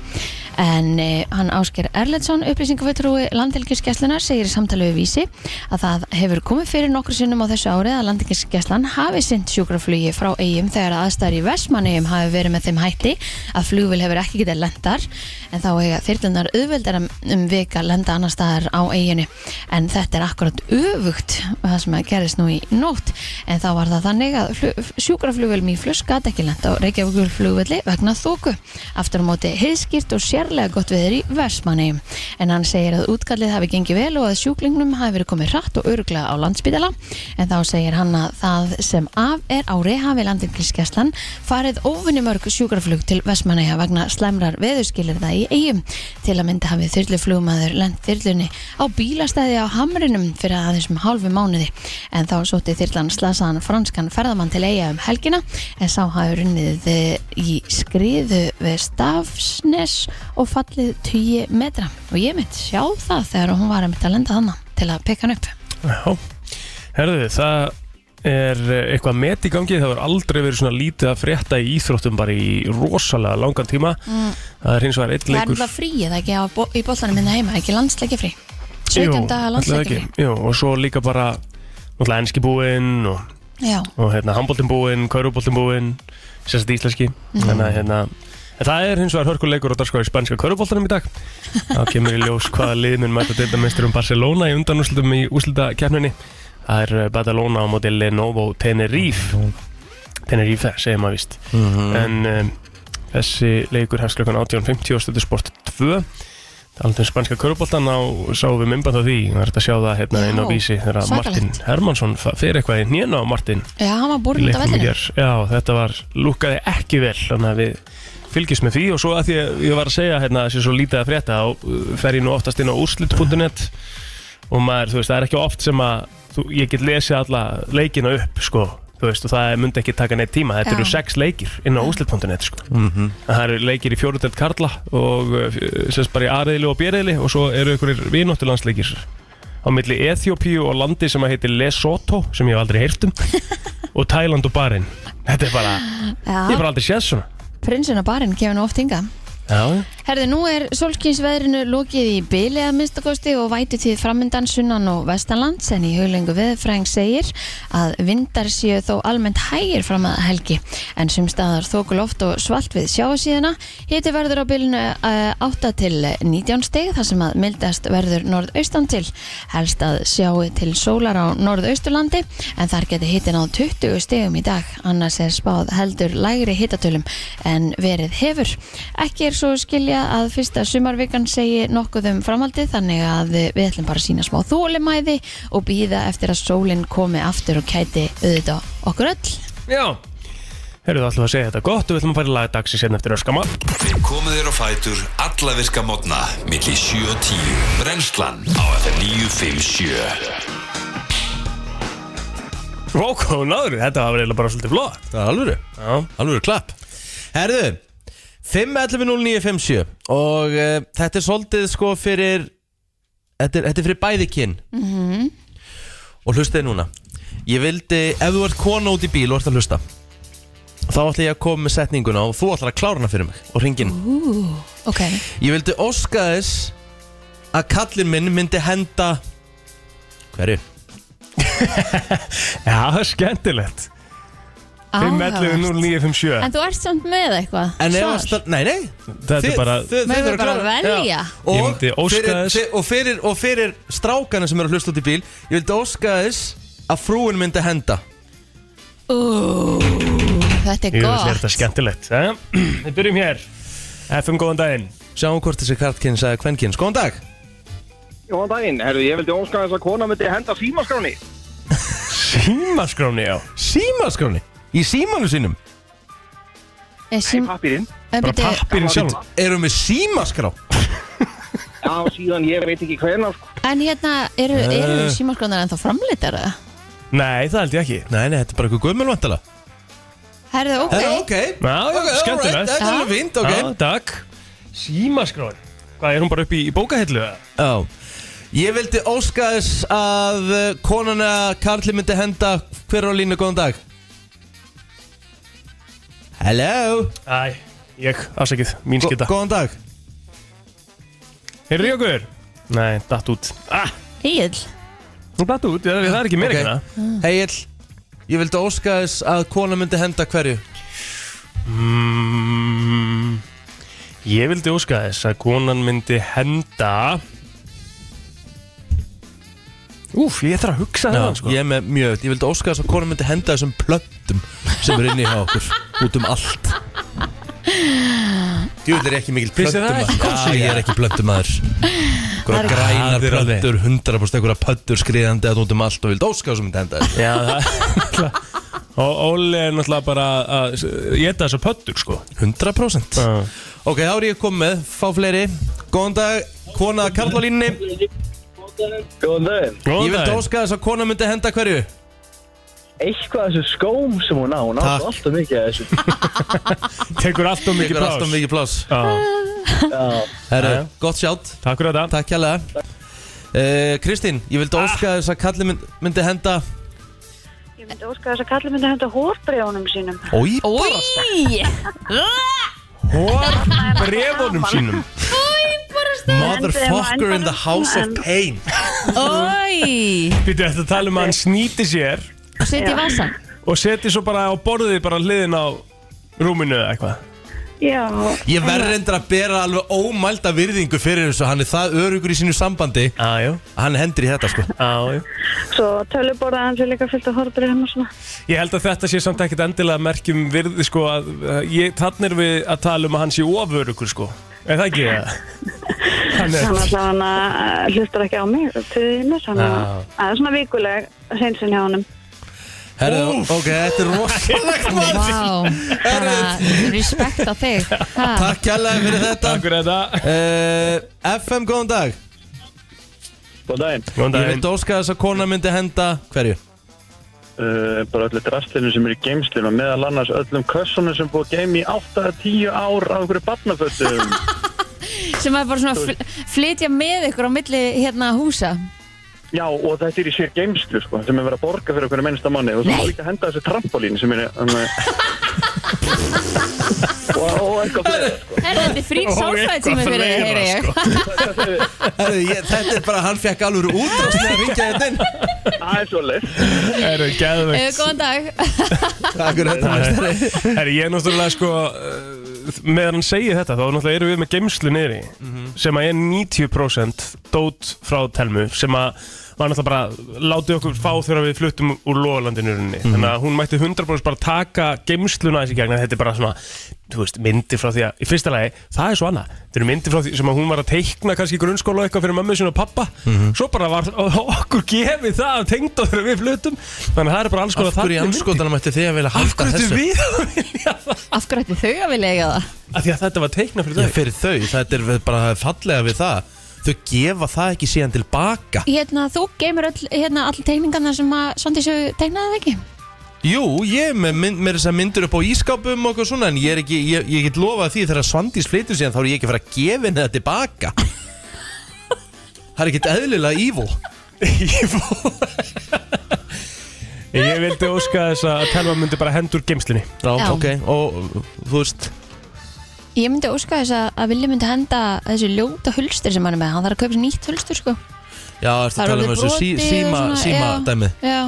En eh, hann Ásker Erlendsson, upplýsingafulltrúi landhelgiskeslunar, segir í samtali við vísi að það hefur komið fyrir nokkru sinnum á þessu árið að landhelgiskeslan hafi sinnt sjúkraflugi frá eigum þegar aðstæður í Vestmannegjum hafi verið með þeim hætti að flugvil hefur ekki getað lendar en þá hefur þyrlunar auðveldar um- um vika lenda annar staðar á eiginu en þetta er akkurat öfugt það sem að gerist nú í nótt en þá var það þannig að flug, sjúkraflugvel Mýflus gat ekki lent á Reykjavíkur flugvelli vegna þóku aftur á móti heiðskýrt og sérlega gott veður í Vestmanni en hann segir að útkallið hafi gengið vel og að sjúklingnum hafi verið komið hratt og öruglega á landsbítala en þá segir hann að það sem af er ári hafi landingliskeslan farið óvinni mörg sjúkraflug til Vestmanni vegna slemrar veðurskilirða í eigum til að mynda hafi þyrluflugmaður lent þyrlunni á bílastæði á Hamrinum fyrir aðeins um hálfu mánuði en þá sótti þyrlan slasaðan franskan ferðamann til eiga um helgina en sá hafi runnið eh, í skriðu við Stafsnes og fallið 10 metra og ég mitt sjá það þegar hún var að mynda að lenda þannig til að peka hann upp
Já, herðu, það er eh, eitthvað met í gangi, það var aldrei verið svona lítið að frétta í íþróttum bara í rosalega langan tíma það er hins vegar eitt
Mm, Það er
leikur
náttúrulega frí eða ekki á, bo- í bollanum minna heima, ekki landsleiki frí 17 daga
ætli það
landsleiki
ekki? Jú, og svo líka bara náttúrulega enski búinn og,
frí Já,
og hérna, handbóltin búinn, kauruboltin búinn sérstætt íslenski
Mhm.
þannig að hérna En það er hins vegar hörkuleikur og darskóði spænska köruboltanum í dag. Þá kemur í ljós hvaða liðminn mæta deildamesturum Barcelona í undanúslutum í úslita Það er eh, Badalona á móti Lenovo Tenerife. Tenerife, segir maður víst. En um, þessi leikur hefst klukkan 18.50 og stöðu sport 2. Alltaf spænska köruboltan á sáum við mymband á því. Það er þetta að sjá það hérna inn á
Já,
vísi þegar að
svakalegt.
Martin Hermansson fa- fer eitthvað í hnjena á Martin
já, hann var
í
borðin út af
leiknum
vellinu
í ger Já, þetta var, lúkaði ekki vel þannig að við fylgjumst með því og svo að því að ég var að segja hérna þessi svo lítið að frétta þá uh, fer ég nú oftast inn á úrslit.net og maður, þú veist, það er ekki oft sem að þú, ég get lesið alla leikina upp sko, þú veist, og það myndi ekki taka neitt tíma þetta
Já.
eru sex leikir inn á úrslit.net sko. það eru leikir í fjórundelt Karla og uh, semst bara í Ariðli og Bjerðli og svo eru einhverjir vinóttulandsleikir á milli Eþjópíu og landi sem að heitir Lesotho sem ég hef aldrei heyrt um og Tæland og Barinn þetta er bara, ég
Já,
hef bara aldrei séð svona
prinsinn á barinn kemur nú oft hinga
já,
Herði, nú er solskinsveðrinu lokið í byli að minnstakosti og væti til framindan sunnan og vestanlands en í huglengu veðfræng segir að vindar séu þó almennt hægir fram að helgi en sem staðar þókuloft og svalt við sjáasíðina hiti verður á bylinu eh, 8 til 19 steg þar sem að mildast verður norðaustan til helst að sjáu til sólar á norðausturlandi en þar geti hitin á 20 stegum í dag annars er spáð heldur lægri hitatölum en verið hefur ekki er svo skilja að fyrsta sumarvikan segi nokkuð um framhaldið þannig að við ætlum bara að sína smá þólimæði og býða eftir að sólinn komi aftur og kæti auðvitað okkur öll
já Herðu, þá ætlum við að segja þetta gott og við ætlum að fara í laga dagsins hérna eftir öskama.
Við komum þér á fætur alla virka mótna milli 7 og 10 Brennslan á FM 957
Rók og náður, þetta var eiginlega bara svolítið flott.
Það er alvöru
Já.
Alvöru klapp Herðu 5.11.09.57 Og uh, þetta er svolítið sko fyrir Þetta er, þetta er fyrir bæði kyn -hmm. Og hlustaði núna Ég vildi, ef þú ert kona út í bíl og ert að hlusta Þá ætla ég að koma með setninguna og þú ætlar að klára hana fyrir mig og ringin
Ú, ok,
Ég vildi óska þess að kallinn minn myndi henda Hverju?
Já, það er skemmtilegt. 511 0957.
Ah, En þú ert samt með eitthvað
En ef
svar?
að stað, nei, nei
Þetta er bara,
Megum
þurfa að
við bara
klára-
velja?
Já.
Ég
og
myndi óska
fyrir,
þess-
þi- og, fyrir, og fyrir strákana sem eru að hlusta út í bíl Ég vildi óska þess að frúin myndi henda
Ú, þetta er
ég vil
gott
þetta skemmtilegt. Jæja, Við byrjum hér. FM, góðan daginn.
Sjáum hvort þessi kartkinn sagði kvenkinn Góðan dag
Góðan daginn, herru, ég vildi óska þess að kona myndi henda símaskráni.
Tímaskráni, já.
Símaskráni Í símanu sínum
Er sím-
Pappirinn.
er
Bara
byrju-
pappirinn sjálf.
Erum við símaskrá?
Já, síðan ég veit ekki hvernig, sko.
En hérna, eru, eru símaskránar ennþá framlítar eða?
Nei, það held ég ekki
Nei, nei, þetta er bara eitthvað guðmjölvandala
Herðu, ok,
Herra, ok
Já, já,
Ok, alright,
skemmtilegt.
Þetta er alveg fint, ok
Já, takk Símaskráin Hvað, er hún bara upp í, í bókahillu? eða?
Já Ég vildi óska þess að uh, konana Karli myndi henda Hver er á línu, góðan dag Hello
Æ, ég, afsakið, mín
Gó-
skita
Góðan dag
Heyrðu í okkur? Nei, datt út Ah,
Egil
hún datt út, það það er ekki hérna. mér
Ok.
ekki það
Heill Ég vildi óska þess að kona myndi henda hverju
Mm, ég vildi óska þess að konan myndi henda Úf, ég þarf að hugsa það sko.
Ég er með mjög Ég vildi óska þess að kona myndi henda þessum plöntum Sem er inni hjá okkur Út um allt Djúvill er ég ekki mikil
Finnst þér það ekki
plöntum Já, ég er ekki plöntum aður Einhverja
Það
grænar
er alveg.
plöntur 100% einhverja pöttur skriðandi að út um allt Og vildi óska þess að myndi henda þess
Já, það Og Óli er náttúrulega bara að geta þessa pöttur sko
100%
Já.
Ok, þá er ég komið með Fá fleiri Góðan dag Kona Karla línni
Góðan daginn.
Góðan
Ég vildi
daginn.
óska þess að kona myndi henda hverju
Eitthvað af þessu skóm sem hún á, hún á
Takk.
svo alltaf mikið af þessu.
Tekur allt og mikið
Tekur
plás
alltaf mikið pláss
Já,
Já,
Herru,
Jæja.
gott sjátt
Takk fyrir þetta
Takk hérlega Eh, Kristín, ég
Ah.
vildi óska þess að Kalli mynd, myndi henda
Ég myndi óska þess að kalla myndi henda hórbrjónum sínum.
Ói,
Új,
Hór brefunum sínum
motherfucker in the house of pain
új
Býttu eftir að tala um að hann snýti sér
Sitt í vasan
Og seti svo bara á borðið bara hliðin á rúminu eða eitthvað
Já,
Ég verð reyndar að bera alveg ómælda virðingu fyrir þessu Hann er það örugur í sínu sambandi
Jájú,
að Hann hendur í þetta sko
jájú
svo töluborða hans er líka fyllt að hórbrjónum og svona.
Ég held að þetta sé samt ekkert endilega merkjum virði sko að uh, ég, þannig erum við að tala um að hann sé ofurugur sko Er það ekki það? Hann er
Hann alltaf hann að eh, hlustar ekki á mig til þínir, hann að
Já.
það er svona vikuleg hreinsin hjá honum.
Herru, ok, þetta er rosalegt maður
Vá, bara respekt á þig ha,
Takk hérlega fyrir þetta
Takk fyrir þetta
uh, FM, góðan dag
góðan daginn.
Góðan
Ég
daginn
vildi óska þess að kona myndi henda hverju?
Uh, bara öllu drastlinu sem er í geimslinu og meðal annars öllum kössunum sem er búið að geima í 8-10 ár á einhverju barnafötum.
sem er bara svona að fl- flytja með ykkur á milli hérna húsa
Já, og þetta er í sér geimslu, sko, sem er verið að borga fyrir okkur mennsta manni og svo má líka henda þessu trampolín sem er... Um, og, og eitthvað fyrir, sko.
Er þetta frýr sálfræðtími fyrir þig, heyri ég
Herru, ég, þetta er bara, hann fekk alveg útrásni að ringja þetta inn
Það er svo leið.
Eru,
Eh,
geðvegt
Góðan dag
Takk fyrir þetta meistari
Eru, ég er náttúrulega sko uh, meðan hann segir þetta þá náttúrulega erum við með geimslu niðri
Mhm.
sem að er 90% dót frá telmu sem að var náttúrulega bara látið okkur fá þegar við fluttum úr loðalandinu mm
Mhm.
-hmm. þannig að hún mætti 100% bara taka geimsluna þessi gegn þetta er bara svona þú veist, myndir frá því að í fyrsta lagi það er svo annað þetta eru myndir frá því sem að hún var að teikna kannski í grunnskóla og eitthvað fyrir mömmu sinu og pappa
Mhm.
svo bara var okkur gefið það af tengd þegar við fluttum þannig að það er bara alls konar
Af hverju í
þannig myndir.
anskotanum ætti þið að vilja
Af
halda
hverju ættu
þessu?
við að vilja það?
Af hverju ætti þau að vilja eiga það?
Af því að þetta var teikna fyrir
Já,
þau
fyrir þau, þetta er bara það er fallega við það Þau gefa það ekki síðan tilbaka
Hérna, þú geymir öll, hérna, all teikningarna sem að Svandís hefur teiknaði það ekki
Jú, ég er með, mynd, með þess að myndur upp á ískápum og eitthvað svona En ég, er ekki, ég, ég get lofað því þegar Svandís flytur síðan Þá er ég ekki að fara að gefa henni það tilbaka Það er ekkert eðlilega evil
Ég vildi óska þess að Telma myndi bara hendur geimslinni
Já,
Já.
ok, og þú veist
Ég myndi óska þess að, að Vilja myndi henda þessu ljóta hulstur sem hann er með Hann þarf að kaupa sér nýtt hulstur sko
Já, ertu
Það
að
er
tala um
orðið
þessu sí,
brotið og
síma,
svona,
síma
já.
dæmið
Já,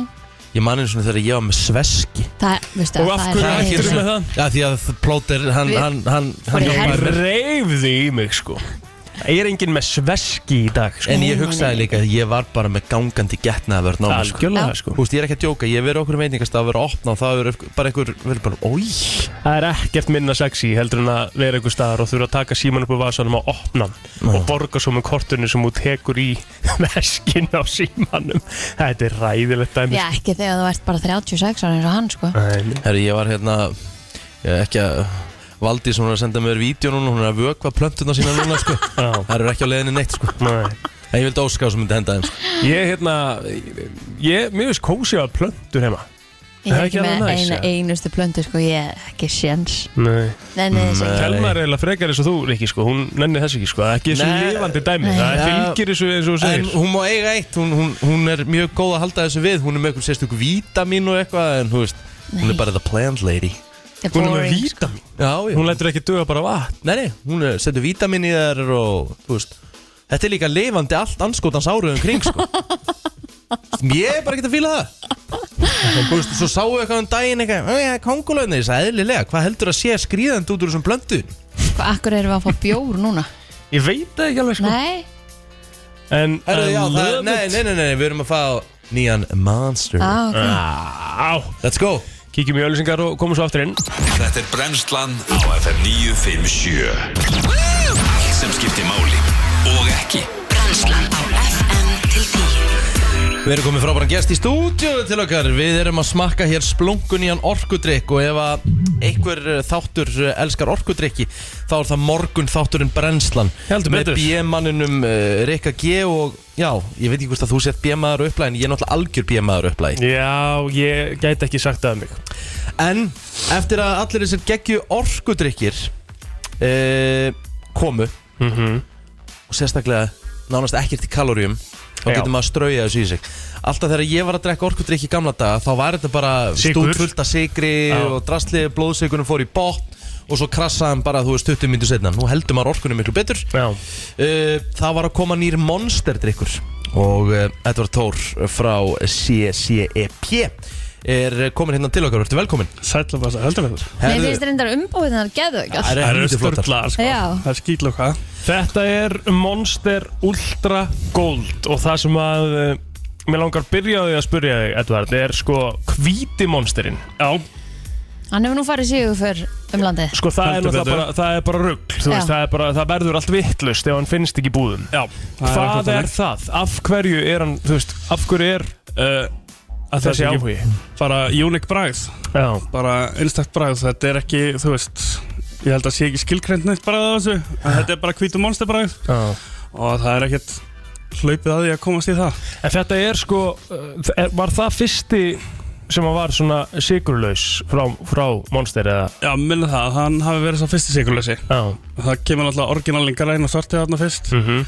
Ég man einu svona þegar ég var með sveski
það er, veistu
Og
að
af
það
hverju
er
hættirðu
leiðinlegt.
með það?
Já, því að plóter, hann,
Við-
hann, hann,
Fór í
hann
herför.
mér
Reifði í mig sko Ég er enginn með sveski í dag sko.
En ég hugsaði líka að ég var bara með gangandi getnaðvörn á mig sko.
Algjörlega
Já.
sko
Þú veist, ég er ekki að djóka, ég hef verið okkur veitingast að vera opna og það er bara einhver, verið bara, oi
Það er ekkert minna sexy heldur en að vera einhver staðar og þurfa að taka síman upp á vasanum og opna hann og borga svo með kortinu sem hún tekur í veskin á símanum Þetta er ræðilegt dæmi sko.
Já, ekki þegar þú ert bara 36 ára eins og hann sko
Æ,
Herru, ég var hérna, ég er ekki að Valdís, hún er að senda mér vídeo núna, hún er að vökva plöntuna sína núna, sko
Já.
Það eru ekki á leiðinni neitt, sko
Nei.
En ég vildi óská sem myndi henda þeim sko.
Ég, hérna, ég, mér finnst kósi að hafa plöntur heima
Ég
Það
er
er
ekki
ekki
með
alveg næs,
eina,
eða?
einustu plöndu sko, ég er ekki sjens
Nei
Nei, nei, þessi ekki
Telma er eiginlega frekar eins og þú, Rikki, sko Hún nenni þess ekki, sko Það er ekki þessu
Nei.
lifandi dæmi Það
Ja.
fylgir þessu eins og þú
En
segir
hún má eiga eitt, hún, hún, hún er mjög góð að halda þessu við Hún er með eitthvað sérstök vítamin og eitthvað En þú veist, hún
Nei.
er bara the plant lady
The
Hún er með
boring.
vítamin
Já, já,
Hún lætur ekki döga bara vatn
nei, nei, hún er- setur vítamin í þær og þú veist Þetta er líka lifandi allt anskotans áruðum kring sko Ég er bara ekki að fíla það Og þú veist, svo sáu eitthvað um daginn eitthvað "Ó, Já, kongulöðni, þess að eðlilega, hvað heldur að sé skrýðandi út úr þessum blöndu?
Hvað, akkur erum við að fá bjór núna?
Ég veit það ekki alveg, sko
Nei,
En
Herru, já,
I
það,
love
nei,
it.
nei, nei, nei, við erum að fá nýjan Monster
á,
Eh,
ok
Á,
Let's go
kíkjum í öllusingar og komum svo aftur inn
Þetta er Brennslan á FM 957 Allt sem skiptir máli og ekki
Brennslan á FM til 10
Við erum komið frábæran gest í stúdíu til okkar Við erum að smakka hér splungun í hann orkudrykk og ef að einhver eh, þáttur eh, elskar orkudrykki þá er það morgun þátturinn brennslan
Heldur
með
betur.
BM-manninum uh, Rikka G og já, ég veit ekki hvort að þú sett BM-maður upplæði en ég er náttúrulega algjör BM-maður upplæði
Já, ég gæti ekki sagt það um mig
En eftir að allir þessir geggju orkudrykkir uh, komu Mhm. og sérstaklega nánast ekkert í kaloríum þá
Já.
getur maður að strauja þessu í sig alltaf þegar ég var að drekka orkudrykk í gamla daga þá var þetta bara
Sykur.
stútfullt af sigri
Já.
og drastli, blóðsigurinn fór í botn og svo krassaðan bara, þú veist, 20 mínutur setna nú heldur maður orkunum miklu betur
Já,
uh, það var að koma nýr monsterdrykkur og uh, Edvard Tór frá CCEP er komin hérna til okkar, verður velkomin
Sætla bara það, heldur við það
Nei, finnst reyndar umbúið þannig að geðu ekki
Það
Það
eru
eru
flottar.
störtlaðar sko
Já.
Það er skýtloka
Þetta er Monster Ultra Gold og það sem að eh, Mér langar byrjaði að spyrja þig, Edvard, er sko hvíti monsterinn. Já.
Hann hefur nú farið síðu fyrr um landið
Sko það er,
Heldur
náttúrulega
betur.
bara, það er bara rugg, þú
Já.
veist, það, er bara, það verður allt vittlust ef hann finnst ekki í búðum.
Já
Hvað
akkurat
er,
þannig.
það? Af hverju er hann, þú veist, af hverju er
Uh, að
þessi
þessi áhugi
áhugi?
bara unik bragð
Já,
bara einstakt bragð þetta er ekki, þú veist ég held að sé ekki skilgrend neitt bragð á þessu en þetta er bara hvítum monster bragð
já.
og það er ekkert hlaupið að því að komast í það
En þetta er sko, eh, er, var það fyrsti sem að var svona sigurlaus frá, frá monster eða?
já, minna það, að hann hafi verið svo fyrsti sigurlösi
Já.
það kemur náttúrulega orginalin græn og svartið þarna fyrst
Mm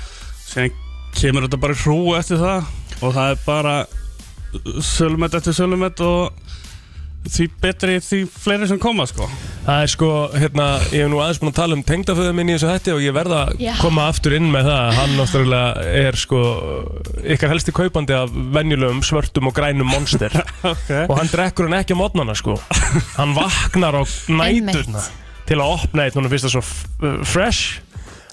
síðan kemur þetta bara í hrú eftir það og það er bara sölumett eftir sölumett og því betri því fleiri sem koma sko
Það er sko, hérna, ég hef nú aðeins búin að tala um tengdaföðu minn í þessu hætti og ég verða að
Já.
koma aftur inn með það að hann náttúrulega er sko ykkar helsti kaupandi af venjulegum svörtum og grænum monster
okay.
og hann drekkur hann ekki á modnana sko hann vaknar á næturna
Einmitt.
til að opna eitt, núna finnst það svo f- uh, fresh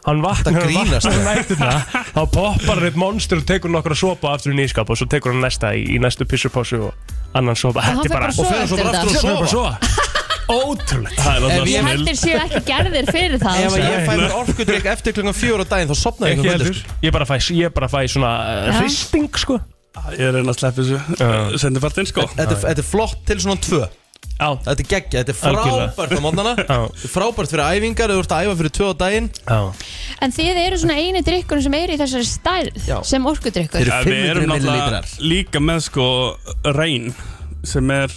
hann vaknar
grínast,
vaknar á næturna þá poppar hann eitt monster og tekur nokkra sopa aftur í nýskap og svo tekur hann næsta í, í næstu pissupásu og annan sopa
hann
Þetta
fer
er
bara
bara
að sofa.
Og fyrir svo bara aftur
Svo er
að
bara
sofa
svo Ótrúlegt
það er
Ef
náttúrulega
ég-
Ég
snill
heldur séu ekki gerðir fyrir það
Ef
sko.
að ég fæ mér orkudrykk eftir klukkan fjóra á daginn þá sopna ég
ekki
kvöldi
heldur ég bara fæ, ég bara fæ svona
Já.
uh, hristing sko
ég er að reyna að sleppa þessu uh. sendi partinn sko
þetta, er- þetta er flott til svona tvö
já,
Þetta er geggja, þetta er
Algjörlega.
frábært á mótnana Þetta er Frábært fyrir æfingar, ef þú ert að æfa fyrir tvö á daginn
já.
En þið eru svona eini drikkurinn sem er í þessari stærð
Já.
sem
Þeir
orkudrykkur
eru
Ja, við
500
erum
millilitrar
náttúrulega líka með sko reyn sem er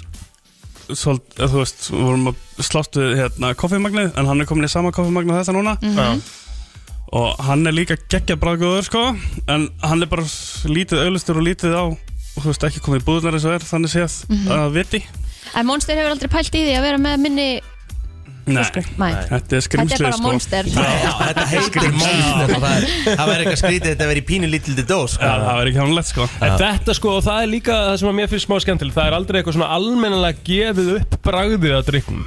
svol, þú veist, við vorum að slást við hérna koffimagnið en hann er komin í sama koffimagnið þetta núna og hann er líka geggja bræðgóður sko en hann er bara s- lítið auðlustur og lítið á þú veist ekki komið í búðunar eins og er þannig séð að viti
En Monster hefur aldrei pælt í því að vera með minni
Nei,
Mæ,
þetta er
þetta er
skrimslið
bara
sko
Monster
Já, þetta heitir monster og það er- Það væri eitthvað skrítið, þetta verið pínu lítil til dós
Já, það verður ekki hannlegt sko
En þetta sko, og það er líka það sem að mér finnst smá skemmtileg það er aldrei eitthvað svona almennilega gefið upp bragðið að drikkum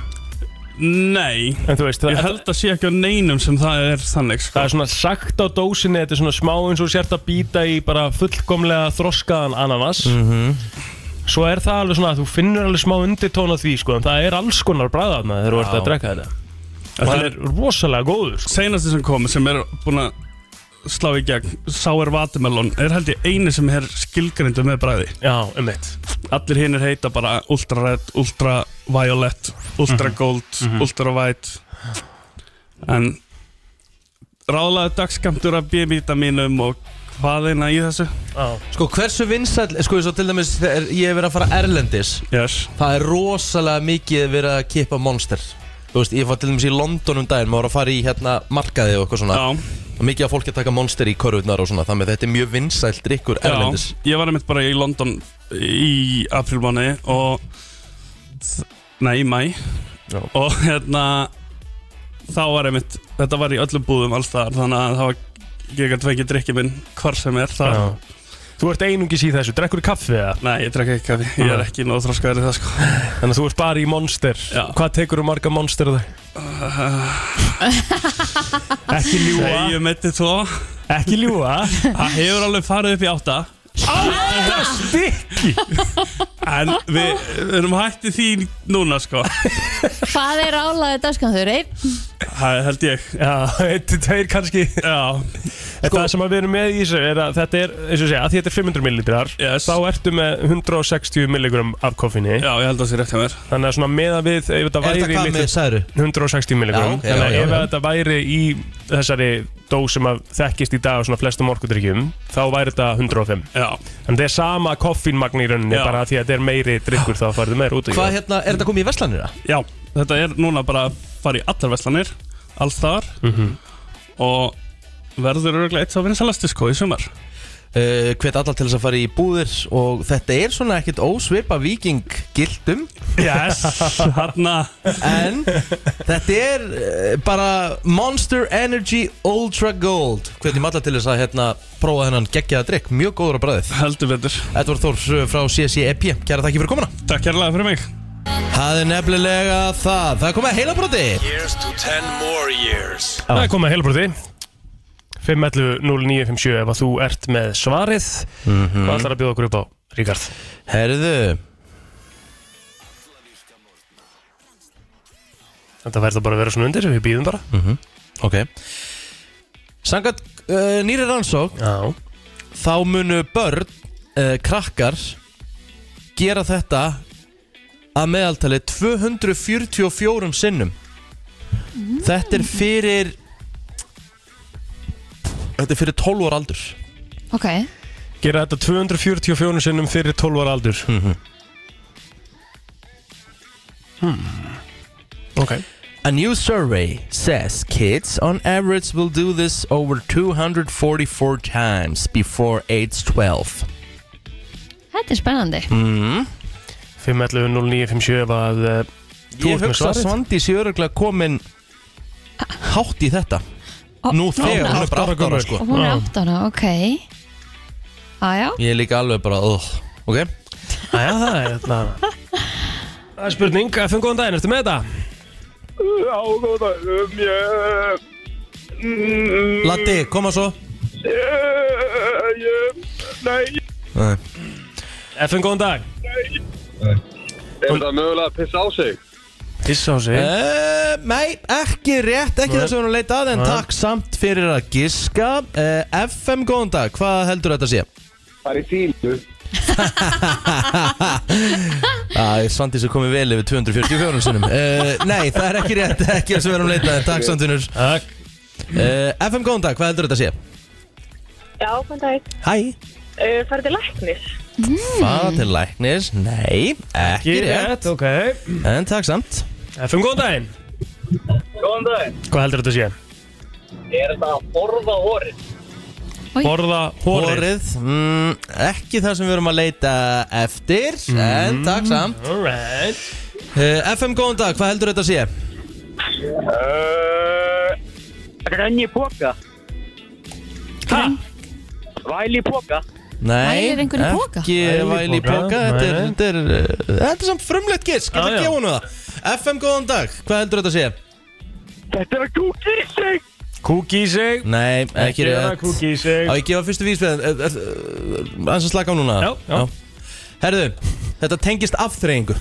Nei,
en þú veist, það,
ég held að sé ekki á neinum sem það er þannig sko
það er svona sagt á dósinni þetta er svona smá eins og sért að býta í bara fullkomlega þroskaðan ananas svo er það alveg svona að þú finnur alveg smá undirtón af því sko en það er alls konar bragðaðna þegar þú ert að drekka þetta og það
Þetta
er rosalega góður sko.
seinasti sem kom sem er búin að slá í gegn Sour Watermelon er held ég eini sem er skilgrindu með bræði
já, um
allir hinn er heita bara Ultra Red, Ultra Violet Ultra Gold, Ultra White en ráðlaðu dagskamtur af B-vitaminum og hvaðina í þessu
Sko hversu vinsæll, sko svo til dæmis þegar ég hef verið að fara erlendis
yes.
Það er rosalega mikið verið að kippa monster Þú veist, ég var til dæmis í London um daginn Maður var að fara í hérna markaði og eitthvað svona
Já,
Og mikið af fólki að taka monster í körfurnar og svona Þannig að þetta er mjög vinsælt drikkur
já,
erlendis
ég var einmitt bara í London í aprílmáni og nei, í mæ
Já.
og hérna þá var einmitt, þetta var í öllum búðum alls þar, þannig að það var ég gæti fengið drikkið minn hvar sem er það,
Þú ert einungis í þessu, drekkur kaffi eða?
nei, ég drekka ekki kaffi, ég er ekki nóð þróskaður í það sko
Þannig að þú ert bara í monster
Já.
Hvað tekur þú marga monster þau? ekki ljúa
Nei, ég meiti tvo,
Ekki ljúa
það hefur alveg farið upp í átta
Átta stykki
en við, við erum hætti því núna sko,
Hvað er álaðið dagskanþur? Einn?
það held ég
Já, einn til tveir kannski
já,
En Það sem að við erum með í þessu er að þetta er, eins og segja, að því þetta er 500 millilitrar
Yes.
Þá ertu með 160 milligram af koffinni
já, ég held að það sé rétt hjá mér
Þannig að svona meða við, ef þetta
Er
væri
þetta hvað
litlu-
með særu?
160 milligram
Já, ok,
Þannig að
já, já,
ef
já.
þetta væri í þessari dó sem að þekkist í dag á svona flestum orkudrykkjum Þá væri þetta 105
já,
Þannig að það er sama koffínmagn í rauninni
Já.
bara af því að þetta er meiri drikkur þá farðu meir út í
Hvað hérna, er þetta komið í Vestlandir það?
já, þetta er núna bara að fara í allar veslanir alls þar og verður örgulega eitt sá vinsalasti sko í sumar
Uh, hvet allar til þess að fara í búðir og þetta er svona ekkert ósvipa viking gildum
yes, hérna
en þetta er uh, bara Monster Energy Ultra Gold hvetjum allar til þess að hérna prófa þennan geggjaða drikk, mjög góður á bræðið
heldur betur,
Edvard Þór uh, frá CSEP, kæra takk fyrir komuna
hérna- takk kærlega fyrir mig
Það er nefnilega það, það er komið að heilabroti
Here's to 10 more years
Það er komið að heilbröði 511-0957 ef að þú ert með svarið
Mhm.
Hvað ætlar að bjóða okkur upp á, Ríkard?
Herðu,
Þetta verður bara að vera svona undir, við býðum bara
ok Sangat uh, nýri rannsók
Já
þá munu börn, uh, krakkar gera þetta að meðaltali 244 sinnum þetta er fyrir þetta er fyrir 12 ára aldur
Ok,
Gera þetta 244 sinnum fyrir 12 ára aldur mm
Mhm.
Hmm. Ok
A new survey says kids on average will do this over 244 times before age 12
þetta er spennandi
Mm.
511-0957 ef að eh, Þú
Ég
ert með
hugsa að
svarið.
Svandi sé öruglega komin hátt í þetta
Ó,
Nú þegar, hún er bara
átta
8
ára
ára
gömul.
sko
Og hún er
Já.
átt ára, ok Æjá,
Ég er líka alveg bara, uh, ok
Æja, það er hérna Það er spurning, FN góðan daginn, ertu með þetta?
Já, góð dag um, ég,
Latti, koma svo
ég, ég, Nei,
Nei.
FN góðan dag
er það mögulega að pissa á sig?
Pissa á sig
Uh, nei, ekki rétt, ekki
Nei.
það sem við erum að leita að En
Nei.
takk samt fyrir að giska uh, FM, góðan dag, hvað heldur þetta sé?
Það er í fílu
Það Ah, er Svandi sem komið vel yfir 244 sinum uh, Nei, það er ekki rétt, ekki það sem við erum að leita að En takk samt fyrir
Takk
uh, FM, góðan dag, hvað heldur þetta sé?
Já, hvern dag.
Hæ,
Uh, farið til læknis.
fara til læknis Nei, ekki rétt
ok
En takk samt
FN góðan daginn
Góðan dag,
Hvað heldur þetta sé?
er þetta að borða orðin?
Borða hórið
Hórið, mm, ekki það sem við erum að leita eftir
Mhm.
En takk samt
Alright
Uh, FM, góðan dag, hvað heldur þetta að sé?
Eh,
Uh, Renn í póka
Ha?
Væl í póka
Nei,
Vælir einhverju poka?
ekki væl í póka Þetta er,
Nei.
þetta er, uh, þetta er samt frumlegt gisk, ég
Já,
ætla að
já.
gefa honu það FM, góðan dag, hvað heldur þetta að sé?
Þetta er að kúka í sig
Kúki í sig
Nei, ekki
Gera
rétt
Kúki í sig
Á, ég gefa fyrstu eh, vísbæðin Þannig eh, að slaka á núna
Já, já.
Herðu, þetta tengist afþreyingu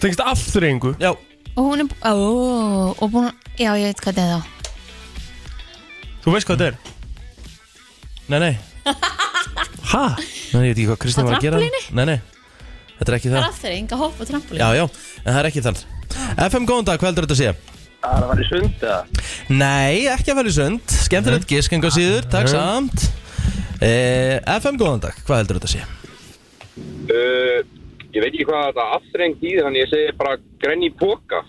Tengst afturrengu
Já,
og hún er ó, og búin að Já, ég veit hvað þetta er þá
Þú veist hvað þetta er?
nei, nei
Ha?
Nei, ég veit ekki hvað Kristín
Á
var að gera
trampolíni?
Nei, nei, þetta er ekki það
aftur, enga hopp og trampolín
Já, já, en það er ekki þann FM, góðan dag, hvað heldur þetta að sé?
Það er að fara í sunda Mhm.
Nei, ekki að fara í sund Skemmtilegt gisk enga síður, takk samt Eh, FM, góðan dag, hvað heldur þetta sé?
Uh, ég veit ekki hvað þetta aftreng þýðir, þannig ég segi bara grenni póka.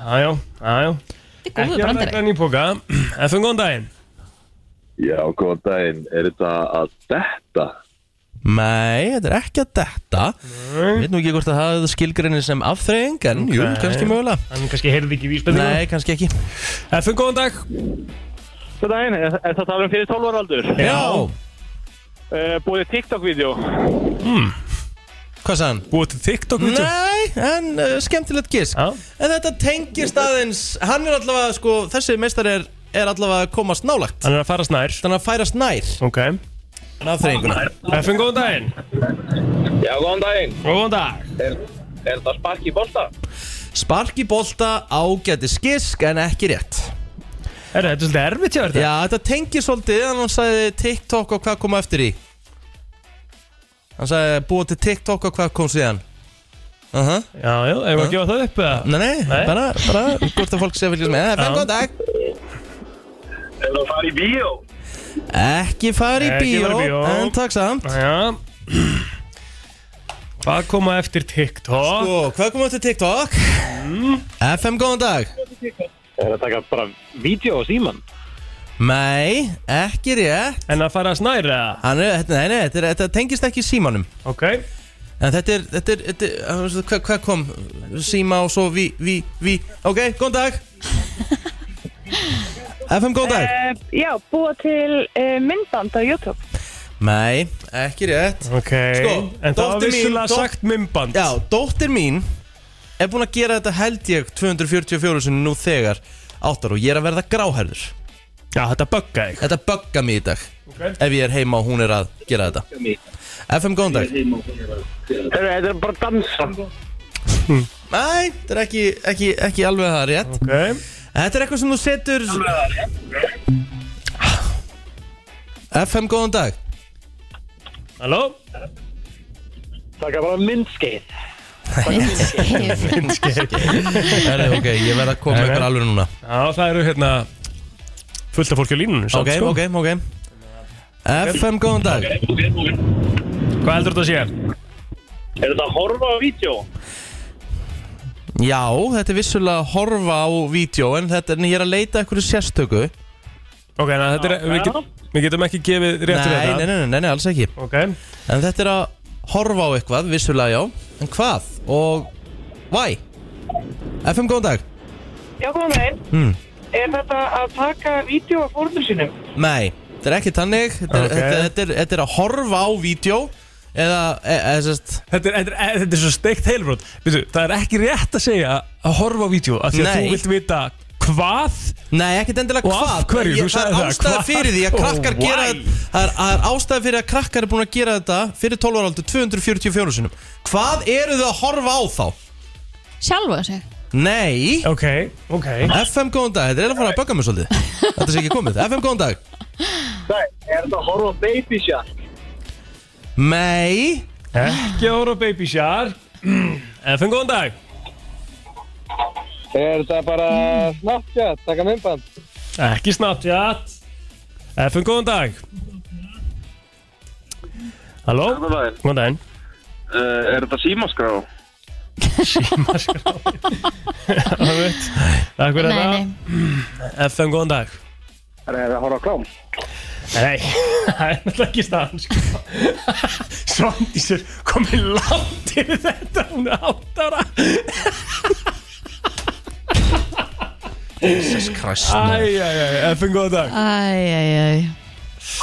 Jájá, jájá
Þetta er góður brandari.
Ekki að póka FM, góðan daginn
Já, góðan daginn. Er þetta að detta?
Nei, þetta er ekki að detta Ég veit nú ekki hvort að það hefði skilgreinir sem afþreying En jú,
Nei.
kannski mögulega
Hann kannski heyrði ekki vísbendingu
Nei, kannski ekki
FM, góðan dag
Góðan daginn, er, er það talað um fyrir 12 ára aldur?
Já,
Uh, búið TikTok-vídeó.
Hmm. hvað sagði hann?
Búið til TikTok vídeo
Nei, en uh, skemmtilegt gisk
Já.
En þetta tengist aðeins Hann er allavega, sko, þessi meistar er, er allavega að komast nálagt
Hann er að fara snær
Þannig að færast nær
Ok
en afþreyinguna
FM, góðan daginn
Já, góðan daginn.
Góðan dag
Er, er þetta spark í bolta?
Sparki bolta ágæti skisk en ekki rétt
Er þetta er svolítið erfitt hjá þér þetta?
Já, þetta tengir svolítið En hann sagði TikTok og hvað kom á eftir í Hann sagði búið til TikTok og hvað kom síðan Aha
Já, já, erum við að gefa það upp eða?
Nei, nei,
Nei.
bara, bara hvort að fólk sé að fylgjast með FM,
Já.
góðan dag
Er það að fara í bíó?
Ekki fara í
Ekki
bíó,
fara í bíó.
en takk samt
Já Hvað koma eftir TikTok?
Og Sko, hvað komum við til TikTok? FM, góðan dag
Er það að taka bara vídeo á síman?
Nei, ekki rétt
En að fara snær eða?
Hann er, þetta- nei, nei, þetta, er, þetta tengist ekki símanum
Ok
En þetta er, þetta er, þetta er hann veist, hvað, hvað kom? Síma og svo vi, vi, vi Ok, góðan dag FM, góðan dag
Uh, já, búa til uh, myndband á YouTube.
Nei, ekki rétt
Ok
Sko,
En það var
dóttir mín-
vissulega
dótt-
sagt mimband
Já, dóttir mín er búin að gera þetta held ég 244 sinni nú þegar áttar og ég er að verða gráherður
Já, þetta bugga þig
Þetta bugga mig í dag
Ok.
ef ég er heima og hún er að gera þetta FM, góðan dag
Er það bara að dansa?
Nei, þetta er ekki, ekki, ekki alveg það rétt
Ok
Þetta er eitthvað sem þú setur FM, góðan dag
Halló?
Taka bara myndskeið.
Myndskeið.
Herri, ok, ég verð að koma
Nei, nei.
ykkur alveg núna
Já, það eru hérna fullt af fólki á línunum samt,
Ok,
sko.
ok, ok FM, góðan dag
Hvað heldur þetta að sé?
Er þetta að horfa á vídeo?
Já, þetta er vissulega að horfa á vídeo en þetta er, en ég er að leita eitthvað sérstöku
Ok, na, þetta er, við, get, við getum ekki gefið
nei,
rétt fyrir
nei,
þetta
nei, nei, nei, nei, alls ekki
Ok
En þetta er að horfa á eitthvað, vissulega já En hvað og why? FM, góðan dag
Já, góðan daginn.
Hmm.
Er þetta að taka vídeo af fórnum sínum?
Nei, þetta er ekki tannig Þetta er,
Ok.
þetta, þetta er, þetta er að horfa á vídeo Eða, e, e, sest,
Þetta er, þetta er, þetta er svo steikt heilbrot Veitu, það er ekki rétt að segja að horfa á vídeo af Því að
Nei.
þú vilt vita hvað
nei, ekkert endilega
Og
hvað
af hverju?
Ég-
Þú
Það
sagðir það,
er ástæða
hvað
fyrir því að
og
krakkar
why?
gera það er, það er ástæða fyrir að krakkar er búin að gera þetta Fyrir 12 ára aldur, 244 sinum Hvað eru þau að horfa á þá?
Sjálfa sig
Nei
Ok, ok
FM góðan dag, þetta er eiginlega að fara að bögga mig svolítið Þetta sé ekki komið, FM góðan dag
Nei, er þetta að horfa á Baby Shark?
Nei,
Ekki að horfa á Baby Shark FM, góðan dag
Er þetta bara Snapchat, taka myndband?
Ekki Snapchat FM, góðan dag Halló?
Góðan daginn.
Góðan daginn
Uh, er þetta símaskrá?
Takk
Nei,
fyrir þetta
nei,
FM, góðan dag
Er þetta að horfa á klám?
Nei, það er náttúrulega ekki staðan sko. Svandísur komið langt yfir þetta hún er átt ára
Christ
Æjæjæj, FN góðan dag
æj, æj, æj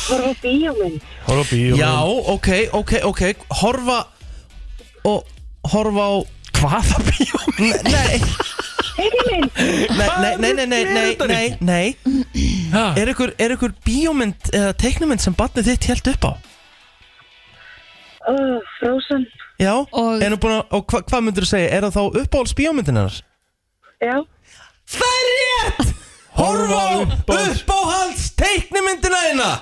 Horfa á bíómynd.
Hóra bíó
Já, ok, ok, ok Horfa og horfa á
Hvaða bíó?
Nei,
Bíómynd.
nei, nei, nei, nei, nei, nei, nei, nei.
Ha?
Er ykkur, er ykkur bíómynd eða teiknumynd sem barnið þitt held upp á?
Oh, Frozen.
Já,
Og-
er nú búin að, og hva, hvað myndur þú segja, er það þá uppáhalds bíómyndin hennar?
Já.
Það er rétt! Horfa á
Horfa á uppáhalds-
uppáhalds teiknumyndina hennar!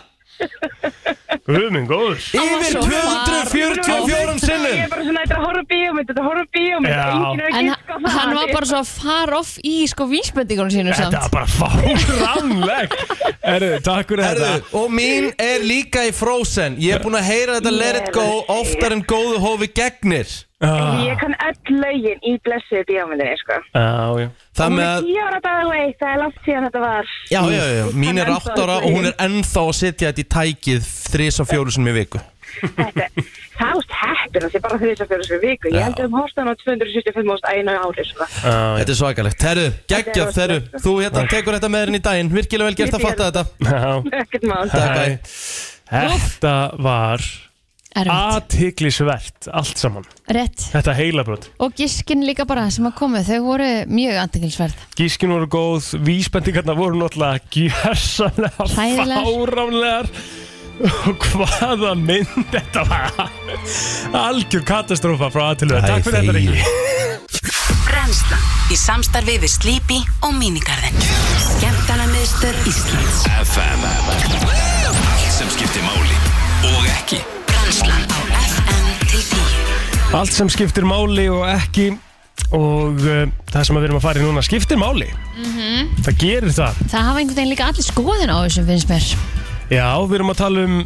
Guð minn góður
Yfir
svo
244
Ég
sinnum
er bara svona, þetta er að horfa á bíómynd, þetta er að horfa á bíómynd,
Já.
enginn er að
En
giska á
sko,
það.
hann var bara svo far off í sko vísbendingunum sínum
Þetta
samt
var bara fáránleg Erðu, takk fyrir
Herðu,
þetta
og mín er líka í Frozen Ég er búin að heyra þetta Let It Go oftar en góðu hófi gegnir
Ah,
Ég kann öll lögin í blessuðu bíómyndinni, sko.
Já, já
Það
Hún
með
er
að,
10 ára dag away, það er langt síðan þetta var.
já, já, já, já, mín er 8 ára og hún er ennþá að setja þetta í tækið þrís og fjólusinum í viku
Þetta, það úst heppin, það sé bara þess að fyrir þessu viku. Ég held að um hórstan á 265 ást einu ári, sko.
Já, já.
Þetta er svakalegt, herru, geggjað,
Þetta er
herru Þú hérna tekur þetta með henni í daginn, virkilega vel gert að fatta þetta
Já.
Ekkert mál.
Takk,
Æ.
bæ
Þetta var
Erfitt,
athyglisvert allt saman
rétt
Þetta heilabrot
Og giskin líka bara sem að komu, þau voru mjög antingilsverð
Gískin voru góð, vísbendingarna voru náttúrulega gjössanlega
Hræðilegar.
fáránlegar og hvaða mynd þetta var algjör katastrófa frá aðtilöðu
Æ,
Takk fyrir þetta
þegi.
Ríkki
Brennslan í samstarfi við Sleepy og Minigarden Skemmtanamiðstöð Íslands
FM Allt sem skiptir máli og ekki
Brennslan á FM til 10
Allt sem skiptir máli og ekki og uh, það sem við erum að fara í núna skiptir máli Það gerir það
Það hafa einhvern veginn líka allir skoðin á þessum finnst mér
Já, við erum að tala um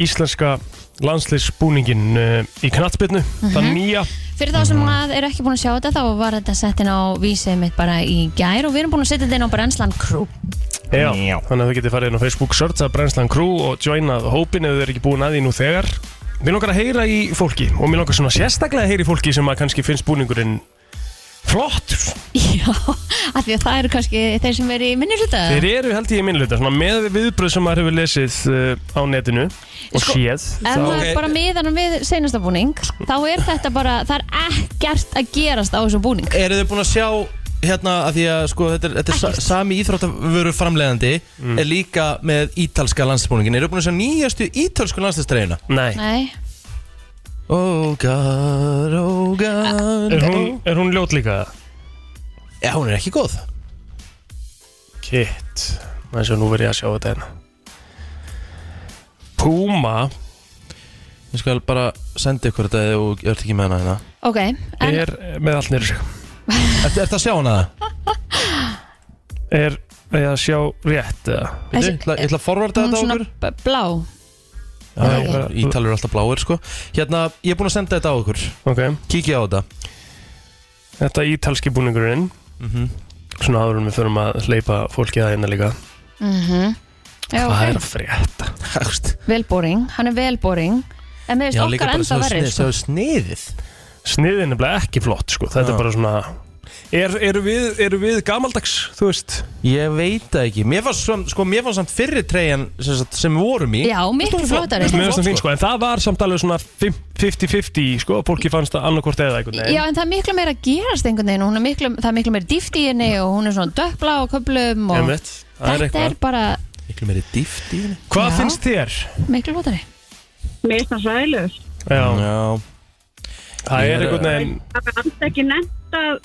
íslenska landsliðsbúningin uh, í knattbyrnu, það nýja
Fyrir þá sem að er ekki búin að sjá þetta þá var þetta sett inn á vísið mitt bara í gær og við erum búin að setja þetta inn á Brennsland Crew
Já, þannig að þið getið farið inn á Facebook searcha Brennslan Crew og joinað hópin ef þið eru ekki búin að því nú þegar Mér langar að heyra í fólki og mér langar svona sérstaklega að heyra í fólki sem að kannski finnst búningurinn flott
Já, af því að það eru kannski þeir sem eru í minni hluta
Þeir eru held ég í minnluta, svona með viðbröð sem maður hefur lesið uh, á netinu og
Sko,
séð
Ef
þá-
maður bara miðanum við seinasta búning þá er þetta bara, það er ekkert að gerast á þessum búning
Eru þið búin að sjá hérna að því að sko þetta er, þetta er sa- sami íþróttavöru framleiðandi
Mm.
er líka með ítalska landsbúningin Eru þið búin að sjá nýjastu ítalsku landslistreyjuna?
Nei,
Nei,
Oh god, oh god
er hún, er hún ljót líka?
Já, hún er ekki góð
Kitt, þess að nú verið ég að sjá þetta hérna Puma
Ég skal bara senda ykkur þetta ef þú ert ekki með hana hérna
ok en,
er með allt nýrur sig
Er þetta að sjá hana það?
Er er að sjá rétt eða?
Ég
Þessi-
ætla, ég ætla að forvarta
Hún
þetta á
svona
okkur
b- blá
Já,
Nei.
já, bara- Ítalir eru alltaf bláir sko Hérna, ég er búin að senda þetta á okkur
Ok,
Kíkja á þetta
Þetta er ítalski búningurinn Mhm. Svona áður en við förum að hleypa fólki það hérna líka
Já,
Hvað er
ok,
að frétta?
Hægst
velbóring, hann er velbóring En mér finnst okkar enda verri sko.
svo sniðið
Sniðin er nefnilega ekki flott sko Þetta
Já.
er bara svona er, eru, við, eru við gamaldags, þú veist?
Ég veit það ekki Mér fannst, sam- sko, mér fannst samt fyrri treyjan sem, sagt, sem við vorum í
Já, miklu flottari
Mér finnst
flott,
það fín
sko.
sko En það var samt alveg svona fimm- 50-50 sko Fólki fannst það annarkvort eða einhvern
Já,
veginn
en það er miklu meira að gerast einhvern veginn Hún er miklu, það er miklu meira dýft í henni og hún er svona dökkblá á köflum og
Einmitt, það
Þetta
er eitthvað
er bara
Miklu meiri dýft í henni
Hvað
Já.
finnst þér?
miklu flottari
Mér finnst það sælur.
Já,
Já, Ég
það er
er-
einhvern veginn
Það er alls ekki nefnt að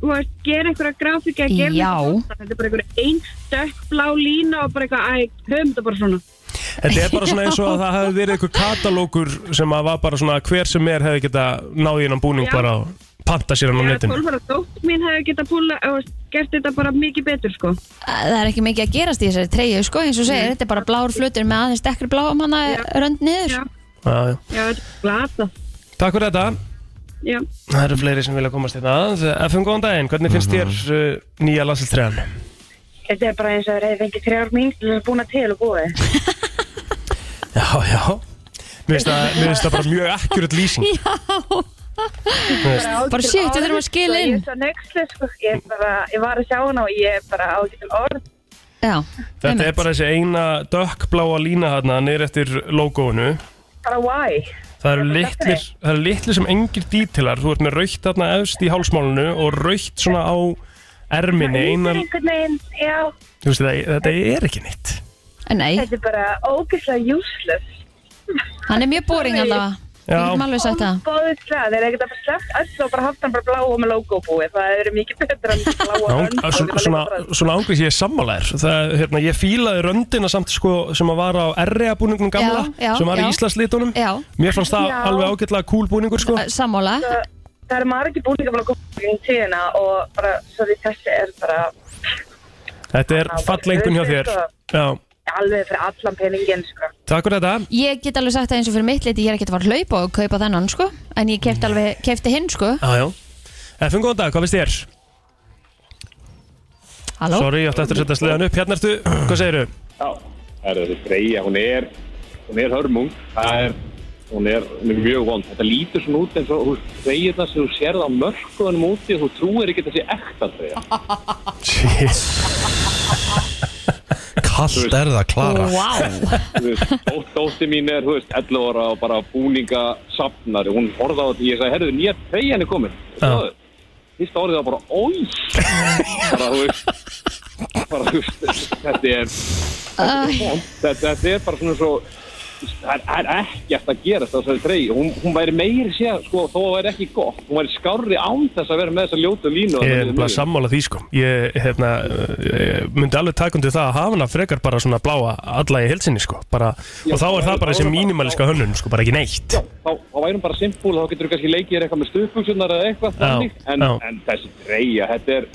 þú veist, gera einhverja grafíki að gera
Já.
einhverja flotta. Þetta er bara einhverja ein dökk blá lína og bara eitthvað, æ, höfum þetta bara svona.
Þetta er bara svona eins og að það hefði verið einhver katalógur sem að var bara svona hver sem er hefði geta náði innan búning
Já.
bara og panta sér hann
Ég
á
er
netinu
12 ára dótt mín hefði getað púla og gert þetta bara mikið betur, sko.
Það er ekki mikið að gerast í þessari treyju sko, eins og segir,
Mm.
þetta er bara blár flutur með aðeins dekkri bláum hana eh, rönd niður
Já.
Já, já.
Já, þetta er glata.
Takk fyrir þetta.
Já.
Það eru fleiri sem vilja komast hérna aðeins. FM, góðan daginn. Hvernig finnst þér uh, nýja landslistræðan?
Þetta er bara eins og það er fengið þrjár mínútur búin að til og búið.
Já, já. Mér finnst það, mér finnst það bara mjög akkurat lýsing.
Bara shit, við þurfum að skila
sko, Ég
inn.
er svo nöggslega, sko. Ég, er bara, ég var að sjá hana og ég er bara á getum orð.
Já,
Þetta er bara þessi eina dökkbláa lína hérna niður eftir logoinu.
Bara why?
Það eru litlir, það eru litlir sem engir dítilar. Þú ert með raukt þarna efst í hálsmálunu og raukt svona á erminni.
Þetta
Einan,
er einhvern veginn, já,
þú veist, það, þetta er ekki nýtt.
Nei,
þetta er bara ógeðslega useless.
hann er mjög boring allavega Við getum alveg sagt það
Óbóðislega, þeir eru ekkert að fara sleppt öll og bara haft hann bara blá og með logo búið Það eru mikið betra en bláa rönd
Áng-
og
svona-
bara
svona,
leikbröð.
svona ángrís ég er sammálaðir það, hérna, ég fílaði röndina samt sko, sem að var á R.E.A. búningnum gamla
Já, já,
sem var í
já.
Íslandslitunum
Já,
mér fannst það
Já.
alveg ágætlega cool búningur sko.
eh, sammála
Það eru margir búningar bara góð í tíðina og bara, sorry, þessi er bara
þetta er fallengun hjá þér já,
alveg fyrir allan peningin, sko
takk fyrir þetta
Ég get alveg sagt það eins og fyrir mitt liti Ég er ekkert að fara að hlaupa og kaupa þennan sko En ég kefti alveg, kefti hinn sko
já, já. FN góðan dag, hvað finnst þér?
Halló,
sorry, ég átti eftir að setja sleðan upp hérna ertu, hvað segirðu?
Já, það er þessi Freyja, hún er, hún er hörmung, það er, hún er, hún er mjög vond. Þetta lítur svona út eins og hún Freyjurna sem þú sérð á mörkunum úti, þú trúir ekki að þetta sé ekta Freyja.
Kallt er það, Klara
wow
Þú veist, dótt, dótti mín er, þú veist, 11 ára og bara búninga safnari, hún horfði á þetta, ég sagði, herðu, nýja Freyjan er komin. Sjáðu, fyrsta orðið var bara, ói, bara, þú veist, bara, þú veist, þetta er,
Æ,
þetta, þetta er bara svona svo það er ekkert að gera þetta þessari treyju, hún, hún væri meiri sé sko, þó að það væri ekki gott, hún væri skárri án þess að vera með þessa ljótu línu
Ég er bara sammála því sko Ég hérna, eh, myndi alveg takundi það að hafa hana frekar bara svona bláa alla í helsinni sko bara,
Já,
og þá er
þá
það
er-
bara
þá
þessi
er það bara-
mínimalíska hönnun sko, bara ekki neitt
þá, þá væri hún bara simpúl, þá getur þú kannski leikið þér eitthvað með stuðfugsunar eða eitthvað
Já,
þannig, en,
já.
en þessi treyja, þetta er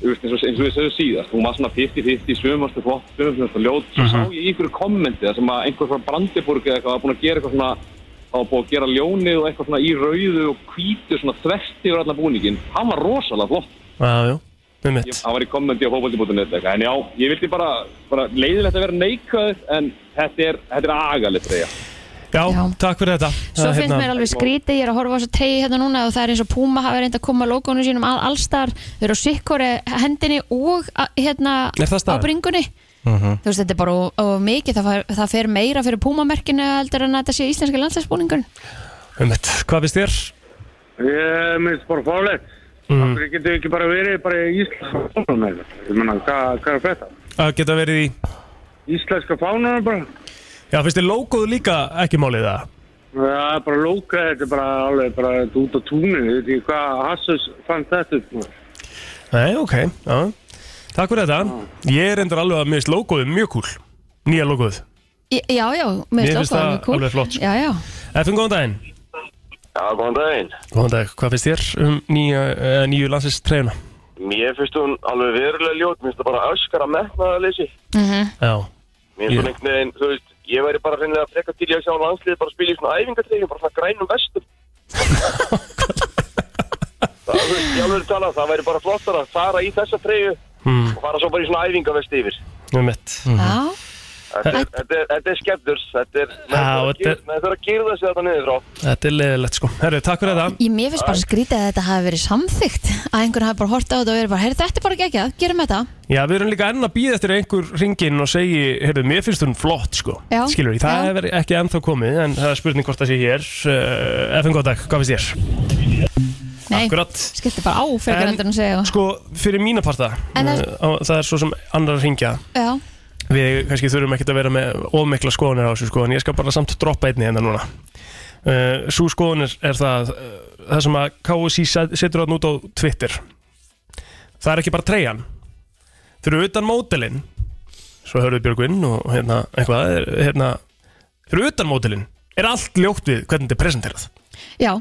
þú veist, eins og, eins og við sögum síðast, hún var svona 50-50 svömmastu flott, svömmastu ljót svo sá ég í einhverju kommenti þar sem að einhver frá Brandiburg eða eitthvað var búin að gera eitthvað svona þá var búin að gera ljónið og eitthvað svona í rauðu og hvítu svona þvert yfir allan búningin hann var rosalega flott
Já, já, með mitt
Ég- hann var í kommenti á fókvöldibútinu en já, ég vildi bara, bara leiðilegt að vera neikvæður en þetta er, þetta er agalegt treyja
Já,
Já.
takk fyrir þetta
Svo
Það, hérna-
finnst mér alveg skrítið, ég er að horfa á þessu treyju hérna núna og það er eins og Puma hafa reynd að koma logoinu sínum að allstar, þau eru á sikkori hendinni og að- hérna
Er það
á
staðan? Mhm.
bringunni Þú veist, þetta er bara of- of mikið, það, fær- það fer meira fyrir Puma-merkinu heldur en að þetta sé íslenski landslagsbúningur
með mitt Hvað finnst þér?
Ég minnst bara fálegt.
Mhm.
Mm. Akkur getur ekki bara verið bara í íslenska fánanum eða? Ég menna, hvað hva er að frétta?
Að geta verið í
Íslenska fánanum bara?
Já, finnst þér logoðu líka ekki málið það?
Það er bara lóka, þetta er bara alveg bara þetta út á túninu. Ég veit ekki hvað Hassus fann þetta upp. maður.
Nei, ok, já Takk fyrir þetta Ég er endur alveg að mér finnst logoðu mjög cool Nýja logoðu
Í- Já, já, mér
Mér
finnst
finnst
það
það
alveg cool.
alveg flott, sko.
Já, já,
Efum góðan daginn
Já, góðan daginn
Góðan dag, hvað finnst þér um nýja, uh, nýju landsistreyjuna?
Mér finnst hún alveg verulega ljót, mér finnst það bara öskar að metna það leysi.
Mhm.
Já,
Mér finnst
Já.
hún einhvern veginn, þú veist, ég væri bara hreinlega að freka til ég að sjá landsliði bara að spila í svona æfingartreyjum, bara svona grænum vestum. það, þú veist, ég alveg tala, það væri bara flottar að fara í þessa treyju
Mm.
og fara svo bara í svona æfingarvesti yfir.
með mitt
já,
Þetta er, þetta er, þetta er skemmturs, þetta er,
Já,
menn
þetta er-
þurfa að gyrða sig þetta niður frá.
Þetta er leðilegt sko Herru, takk fyrir þetta
ég, mér finnst bara skrítið að þetta hafi verið samþygt að einhver hafi bara hortið á þetta og verið bara, heyrðu, þetta er bara geggjað, gerum þetta
Já, við erum líka enn að býða eftir að einhver ringin og segi Herru, mér finnst hún flott sko
Já.
Skilur því, það
Já.
hefur ekki ennþá komið En það er spurning hvort það sé hér uh, FN góð dag, hvað finnst þér?
Nei,
Akkurat
skiptir bara á frekar
En-
heldur en að segja
Sko, fyrir mína parta
En
uh,
það-
á- Það er svo sem annar ringja
Já,
Við kannski þurfum ekkert að vera með ómikla skoðanir á þessu sko En ég skal bara samt droppa einni hérna núna uh, Sú skoðan er, er það uh, Það sem að KSI set- setur þarna út á Twitter Það er ekki bara treyjan Þau eru utan mótelin Svo hörðu Björgvinn og hérna eitthvað er, hérna, Þau eru utan mótelin Er allt ljótt við hvernig þetta er presenterað
já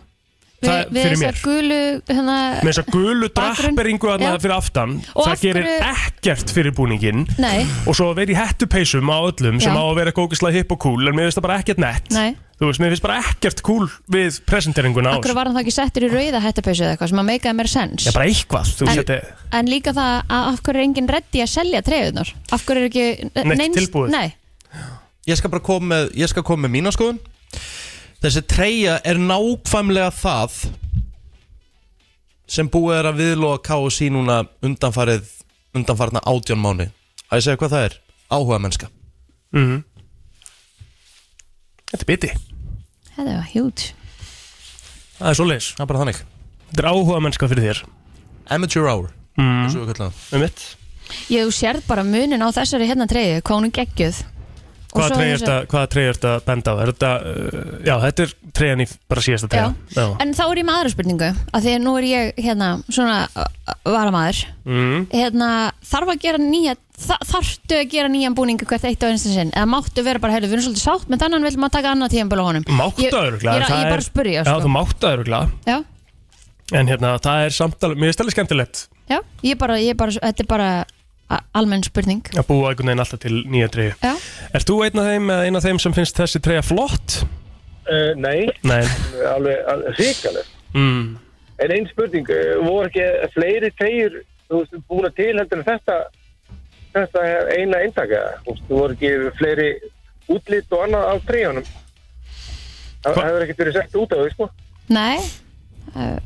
Við,
Það-
við
fyrir
þessa
mér.
gulu, hérna,
Með þess að gulu
Bakgrunn,
drapperingu
já.
Alla fyrir aftan
Og
Það
af hverju-
gerir ekkert fyrir búningin
Nei,
og svo að vera í hettupeysum á öllum sem
Já.
á að vera gókislega hipp og cool en mér finnst það bara ekkert nett
Nei.
þú veist, mér finnst bara ekkert cool við presenteringuna á
akkur var hann þá ekki settur í rauða hættupeysu eða eitthvað sem að meikaði mér sens
Já, bara eitthvað, þú veist,
En-
þetta er
En líka það að af hverju er enginn reddi að selja treyðunar Af hverju er ekki
Neitt
neins-
tilbúið.
Nei,
Ég skal bara koma með, ég skal koma með mína skoðun Þessi treyja er nákvæmlega það sem búið er að viðlóa KSI núna undanfarið undanfarna átjón mánu að ég segja hvað það er, áhuga mennska
Þetta er biti,
þetta var hjút
það er svo leis
það er bara þannig
Þetta er áhuga mennska fyrir þér
Amateur hour, mm. eins og við kallum það
um mitt
Ég þú sérð bara munin á þessari hérna treyðu, hvað hún er geggjöð Og svo
Hvaða treyja
þessa-
ertu að- hvaða treyja ertu að benda á? Er þetta, uh, já, þetta er treyjan í bara síðasta
Já.
treyja. Já.
En þá er ég með aðra spurningu að því að nú er ég hérna svona varamæður
Mm.
hérna, þarf að gera nýja þa- þarftu að gera nýjan búningu hvert eitt á einstin sinn eða máttu vera bara, heyrðu, við erum svolítið sátt menn þannig vil maður taka annað tíðanbölu á honum
Máttu
Ég-
öruglega.
Ég, er- ég er bara að spurja
Já, þú
sko.
máttu öruglega.
já,
En hérna, það er samtal, mér finnst alveg skemmtilegt
já, ég er bara, ég er bara þetta er bara a- almenn spurning
að búa einhvern veginn alltaf til nýja treyju.
Já.
Er þú einn af þeim eða einn af þeim sem finnst þessi treyja flott?
Uh, nei,
Nei.
alveg, alveg ríkalegt.
Mm.
En einn spurning, eh, voru ekki fleiri treyjur þú veist, búin til heldur en þetta, þetta eina eintaka? Þú veist, voru ekki fleiri útlit og annað á treyjunum? Það hefur ekkert verið sett út af því, sko.
nei uh,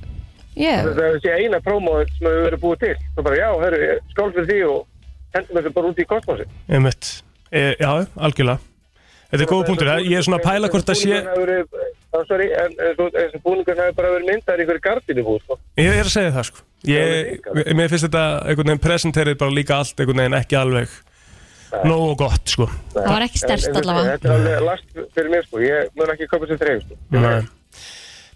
ég,
Það hefur sé eina prómóður sem hefur verið búið til. Það bara, já, herru, skál fyrir því og hendum þessu bara út í kosmosi.
Einmitt. E, já, algjörlega. Þetta er góð punktur. eh? Ég er svona að pæla hvort það sé...
Sorry, en þessu búningun hefur bara verið myndar í hverju gardinu búið, sko.
Ég er að segja það, sko. Ég, mér finnst þetta einhvern veginn presenterið bara líka allt einhvern veginn ekki alveg nógu gott, sko.
það var ekki stert
En- en-
allavega
Þetta er alveg last fyrir mér, sko. Ég mun ekki köpa sem treyjum, sko.
Nei.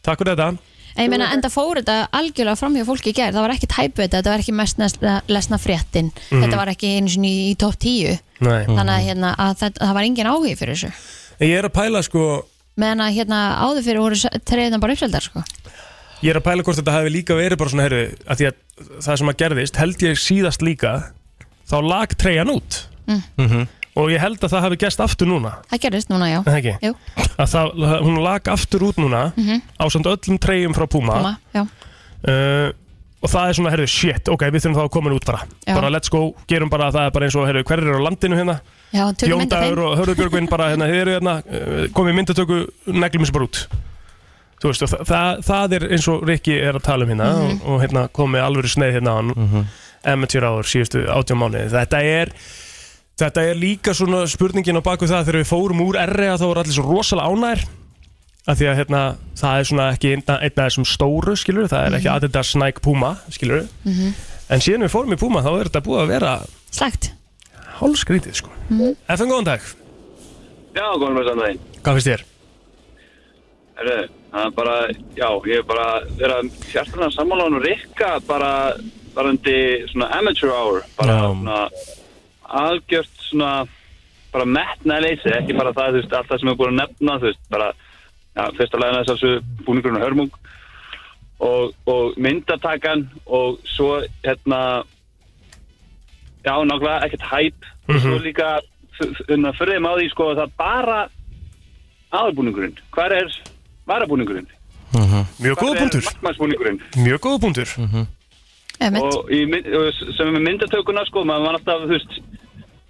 Takk fyrir þetta.
en ég meina, enda fór þetta algjörlega framhjá fólki í gerð, það var ekki tæpu þetta þetta var ekki mest lesna, lesna fréttin
Mhm.
þetta var ekki einu sinni í, í topp 10
Nei.
þannig að, hérna, að þetta, það var engin áhugi fyrir þessu
En Ég er að pæla, sko,
meðan að hérna, áður fyrir voru treyðina bara uppseldar sko.
ég er að pæla hvort þetta hefði líka verið bara svona, herru, að því að það sem að gerðist, held ég síðast líka, þá lag treyjan út.
Mm.
-hmm. Og ég held að það hafi gerst aftur núna.
það gerist núna, já
Er Það ekki?
Jú.
Að það, hún lag aftur út núna, mm
Mhm.
á samt öllum treyjum frá Puma.
Koma, já.
uh, og það er svona, herru, shit, ok, við þurfum þá að koma henni út bara
Já.
bara let's go, gerum bara það er bara eins og, herru, hver eru á landinu hérna
já, tökum mynd af
Jóndagur
þeim
og Hörðubjörgvin bara, hérna, þið eru hérna uh, komið myndatöku, neglum þessu bara út þú veist, og þa það, það er eins og Rikki er að tala um hérna
Mhm.
og, og hérna komið alvöru sneið hérna á hann mm -hmm. emetjur áður síðustu átján mánuði þetta er Þetta er líka svona spurningin á baku það þegar við fórum úr R.E.A. þá voru allir svo rosalega ánægir af því að hérna, það er svona ekki einn einn af þessum stóru, skilur það er ekki Adidas, Nike, Puma, skilur
Mhm.
en síðan við fórum í Puma þá er þetta búið að vera
slagt
hálskrítið sko FN, góðan dag,
Já, góðan með samdæðin.
hvað finnst þér?
Herðu, það er bara, já, ég er bara verið að hjartalega sammála hann og rikka bara varandi svona amateur hour. Bara svona algjört svona bara metna leysi, ekki bara það, þú veist, allt það sem er búin að nefna, þú veist, bara, já, fyrsta lægina þess að þessu búningurinn og hörmung og, og myndatakan og svo, hérna, já, nákvæmlega ekkert hæp og svo líka, hérna, fyrir þeim á því, sko, að það er bara aðalbúningurinn, hvar er varabúningurinn?
Mjög góða punktur.
Markmannsbúningurinn.
Mjög góða punktur
Og í, mynd- og sem er myndatökuna, sko, maður var alltaf, þú veist,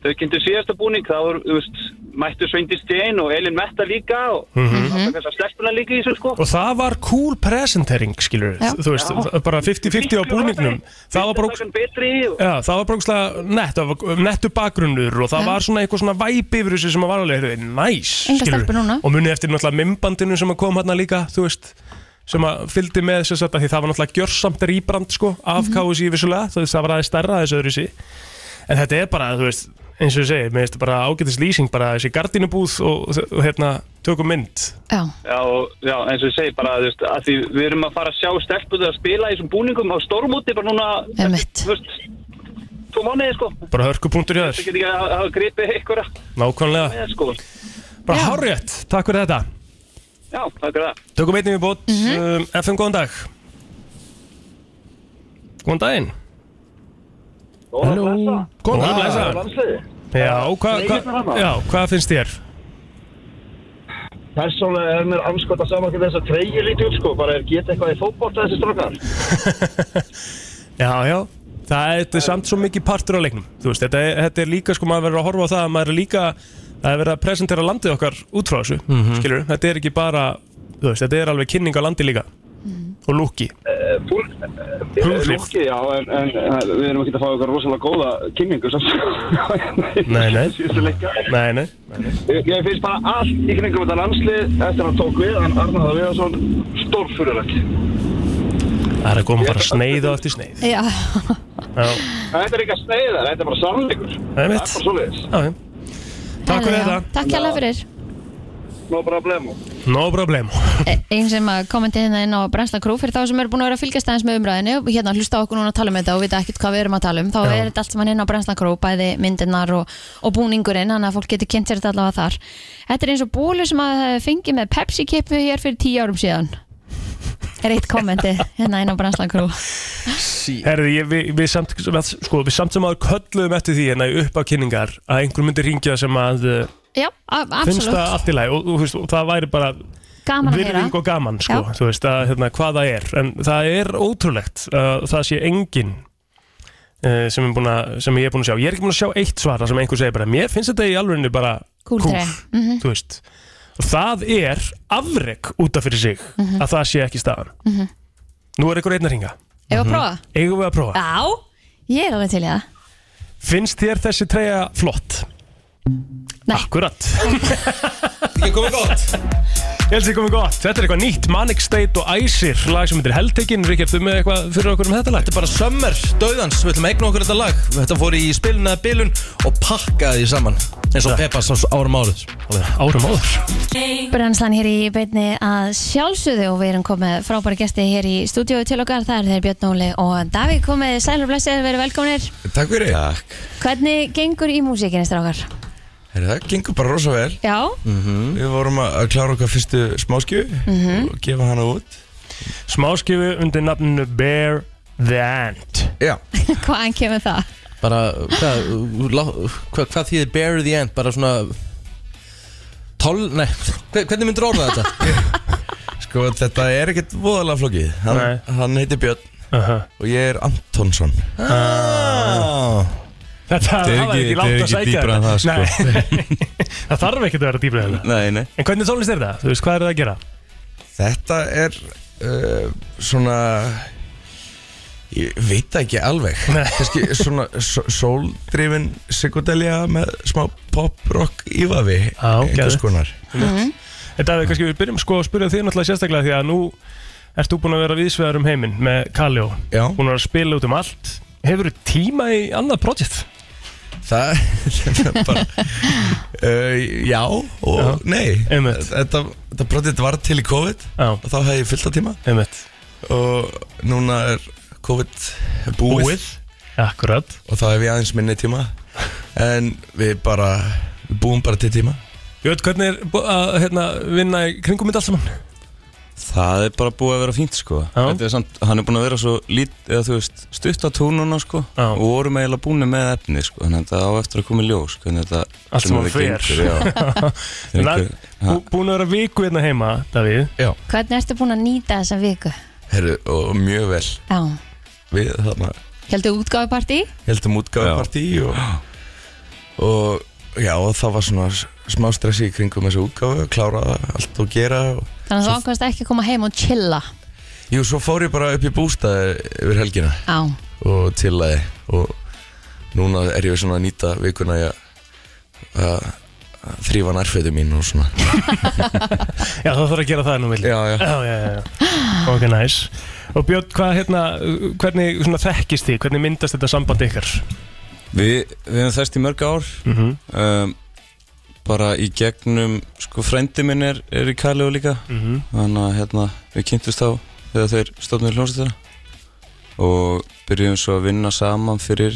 þau kynntu síðasta búning, þá voru, þú veist, mættu Sveindi Stein og Elin Metta líka og
Mhm.
alltaf þessar stelpuna líka í þessu, sko.
og það var cool presentering skilur,
Já.
þú veist,
Já.
bara 50-50 á búningnum það var bara
Takan betri og...
Já, það var bara ógeðslega nett, það var nettu bakgrunnur og það var svona eitthvað svona væp yfir þessu sem að var alveg, heyrðu, næs,
Enga
skilurðu.
stelpur núna.
Og munið eftir náttúrulega mimbandinu sem að kom hérna líka, þú veist, sem að fylgdi með þess að því það var náttúrulega gjörsamt rýbrand, sko,
Mhm.
af KSI vissulega, þú veist, það var aðeins stærra þessu öðru En þetta er bara, þú veist, eins og ég segi, mér veist bara ágætis lýsing, bara þessi gardínubúð og, og, hérna, tökum mynd.
já.
Já, og- já, eins og ég segi bara, þú veist, að því við erum að fara að sjá stelpunar að spila í þessum búningum á stórmóti bara núna,
Einmitt.
þú veist, tvo mánuði, sko.
Bara hörkupunktur hjá
Það
þér,
getur ekki að hafa gripið einhverja
nákvæmlega.
með, sko.
Bara hárétt, takk fyrir þetta.
Já, takk fyrir það.
Tökum einnig við bót, um, FM, góðan dag Góðan daginn
Halló
Góðan blessa Já, hvað
Nei,
hva,
hérna hana.
já, hvað finnst þér?
Persónlega er mér anskota saman til þess að treyja lítið út sko, bara er geta eitthvað í fótbolta þessi strókar.
Já, já Það er, þetta er samt svo mikið partur á leiknum Þú veist, þetta er, þetta er líka, sko, maður verður að horfa á það að maður er líka, það er verið að presentera landið okkar út frá þessu, mm
Mhm.
þetta er ekki bara, þú veist, þetta er alveg kynning á landi líka og lúki Hughrif.
Lúkið, já, en, en eh, við erum ekki að fá eitthvað rosalega góða kynningu samt.
Nei, nei,
Síðustu leikja.
nei, nei
Ég, ég finnst bara allt í kringum þetta landslið eftir að hann tók við, hann Arnaður Viðarsson, stórfyrirlegt.
Það er að koma bara sneið og eftir sneið
Já.
Já,
Þetta er ekki að sneiða, þetta er bara sannleikur.
það er mitt
Bara svoleiðis.
Já, já. Takk fyrir þetta.
Takk hérlega fyrir
No problemo.
No problem
E- Einn sem að kommenti hérna inn á Brensla Crew fyrir þá sem eru búin að vera að fylgjast aðeins með umræðinu og hérna hlusta á okkur núna að tala um þetta og vita ekkert hvað við erum að tala um þá
Já.
er þetta allt saman inn á Brensla Crew bæði myndirnar og, og búningurinn þannig að fólk getur kynnt sér þetta allavega þar Þetta er eins og bólu sem að eh, fengi með Pepsi kipu hér fyrir tíu árum síðan er eitt kommenti hérna inn á Brensla Crew
Herði, ég, við, við, samt, við, sko, við samt sem áður kölluðum eftir því hérna í uppákynningar að einhver myndi ringja sem að uh,
Já, a-
finnst
absolutt
það allt í lagi og, og, og, og það væri bara
Gaman að heyra
virðing og gaman sko,
Já.
þú veist, að, hérna, hvað það er en það er ótrúlegt að það sé engin uh, sem, er búin að, sem ég er búin að sjá ég er ekki búin að sjá eitt svar þar sem einhver segir bara mér finnst þetta í alvegni bara
Kúl
kúl,
tré. Mhm.
þú veist og það er afrek út af fyrir sig
Mhm.
að það sé ekki staðan
Mhm.
nú er einhver einn að ringa
Eigum
Mhm.
við að prófa?
eigum við að prófa
Já, ég er alveg til í það
Finnst þér þessi treyja flott?
Nei
Akkurat Ég komið gott Ég held að ég komið gott Þetta er eitthvað nýtt Manic State og Æsir Lag sem heitir Heldtekin Ríkjaf, þú með eitthvað fyrir okkur um þetta lag?
Þetta er bara Summer, döðans, við ætlum að eigna okkur þetta lag Þetta fór í spiluna eða bilun og pakkaði því saman eins og Peppa sá árum áður
Árum áður?
Brennslan hér í beinni að sjálfsöðu og við erum komið frábæra gesti hér í stúdíói til okkar, það er þeir Björn Óli og Davík komið, sælur blessið, verið velkomnir
Takk fyrir Takk
Hvernig gengur í músíkinni strákar? Mm.
Herri, það gengur bara rosa vel
Já,
Við vorum að að klára okkar fyrstu smáskjöfu
Mhm.
og gefa hana út
Smáskjöfu undir nafninu Bear the Ant
Já
hvaðan kemur það?
Bara, hvað, lá- hvað, hvað þýðir bury the end? Bara svona Tól, nei, hve- hvernig myndir orða þetta?
Sko, þetta er ekkert voðalega flókið Hann, hann heitir Björn og ég er Antonsson ah.
Þetta
Þetta er
það var
ekki-
ekki
þetta er
langt að
ekki
sækja
dýpra en það, sko.
Nei. Það þarf ekkert að vera dýbra en það
Nei, nei
En hvernig tónlist er það? Þú veist, hvað er það að gera?
Þetta er uh, svona ég veit það ekki alveg kannski svona sóldrifin psykodelja með smá pop-rock ívafi einhvers
geðveikt.
konar
Mhm. En Davíð, kannski við byrjum sko að spyrja þig náttúrulega sérstaklega því að nú ert þú búin að vera viðsvegar um heiminn með Kaljó Já Búin að vera að spila út um allt Hefur þú tíma í annað projekt?
Það er bara uh, Já og nei Þetta, þetta brotið var til í COVID
já.
og þá hefði ég fyllt á tíma
Einmitt.
og núna er COVID búið,
Búið, Akkurat
og þá hef ég aðeins minni tíma en við bara við búum bara til tíma
Jörg, hvernig er bú- að hérna, vinna í kringum mitt allt saman?
Það er bara búið að vera fínt sko Þetta er samt, hann er búin að vera svo lít, eða, þú veist, stutt á túnuna sko Já. og vorum eiginlega búin með efni sko þannig að þetta á eftir að koma í ljós hvernig þetta
Allt saman fer
Þegar
Lag-
einhver-
bú- Búin að vera viku hérna heima, Davíð
Já
Hvernig ertu búin að nýta þessa viku?
Heru, og mjög vel
Já,
við þarna
heldur útgáfupartí?
heldum útgáfupartí og, og já og það var svona s- smá stressi í kringum þessu útgáfu að klára allt og gera og,
Þannig að þú ákvæmst ekki að koma heim og chilla
jú svo fór ég bara upp í bústaði yfir helgina
Já,
og tilæði og núna er ég svona að nýta vikuna í að að- að þrýfa nærfötu mín og svona
Já, þá þarf að gera það nú vill
Já, já.
já, já, já. Ok, næs Og Björn, hvað hérna, hvernig svona þekkist þið? Hvernig myndast þetta samband ykkar?
Við, við hefum þest í mörg ár
Mhm.
um, bara í gegnum sko frendi minn er, er í Kaleo líka
Mhm.
þannig að hérna, við kynntumst þá þegar þeir stofnir hljómsveitina og byrjuðum svo að vinna saman fyrir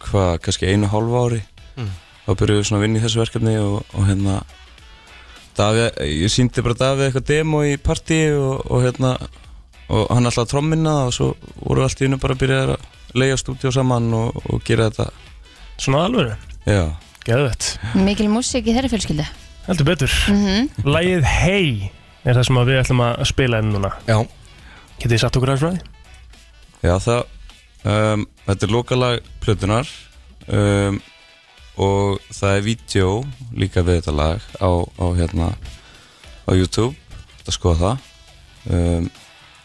hvað, kannski einu og hálfu ári
Mm.
þá byrjuðum við svona að vinna í þessu verkefni og, og hérna Davíð, ég síndi bara Davíð eitthvað demo í partíi og, og hérna og hann alltaf trommina og svo voru allt í hennu bara að byrja að leiða stúdíu saman og, og gera þetta
Svona alvöru?
Já
Geðvett
mikil músík í þeirri fjölskyldu
Heldur betur
Mhm.
Lægið Hey er það sem að við ætlum að spila enn núna
Já
Getið þið satt okkur aðeins frá því?
Já, það, um, þetta er lokalag plötunar um, og það er vídeo líka við þetta lag á, á, hérna, á YouTube, þetta skoða það. Um,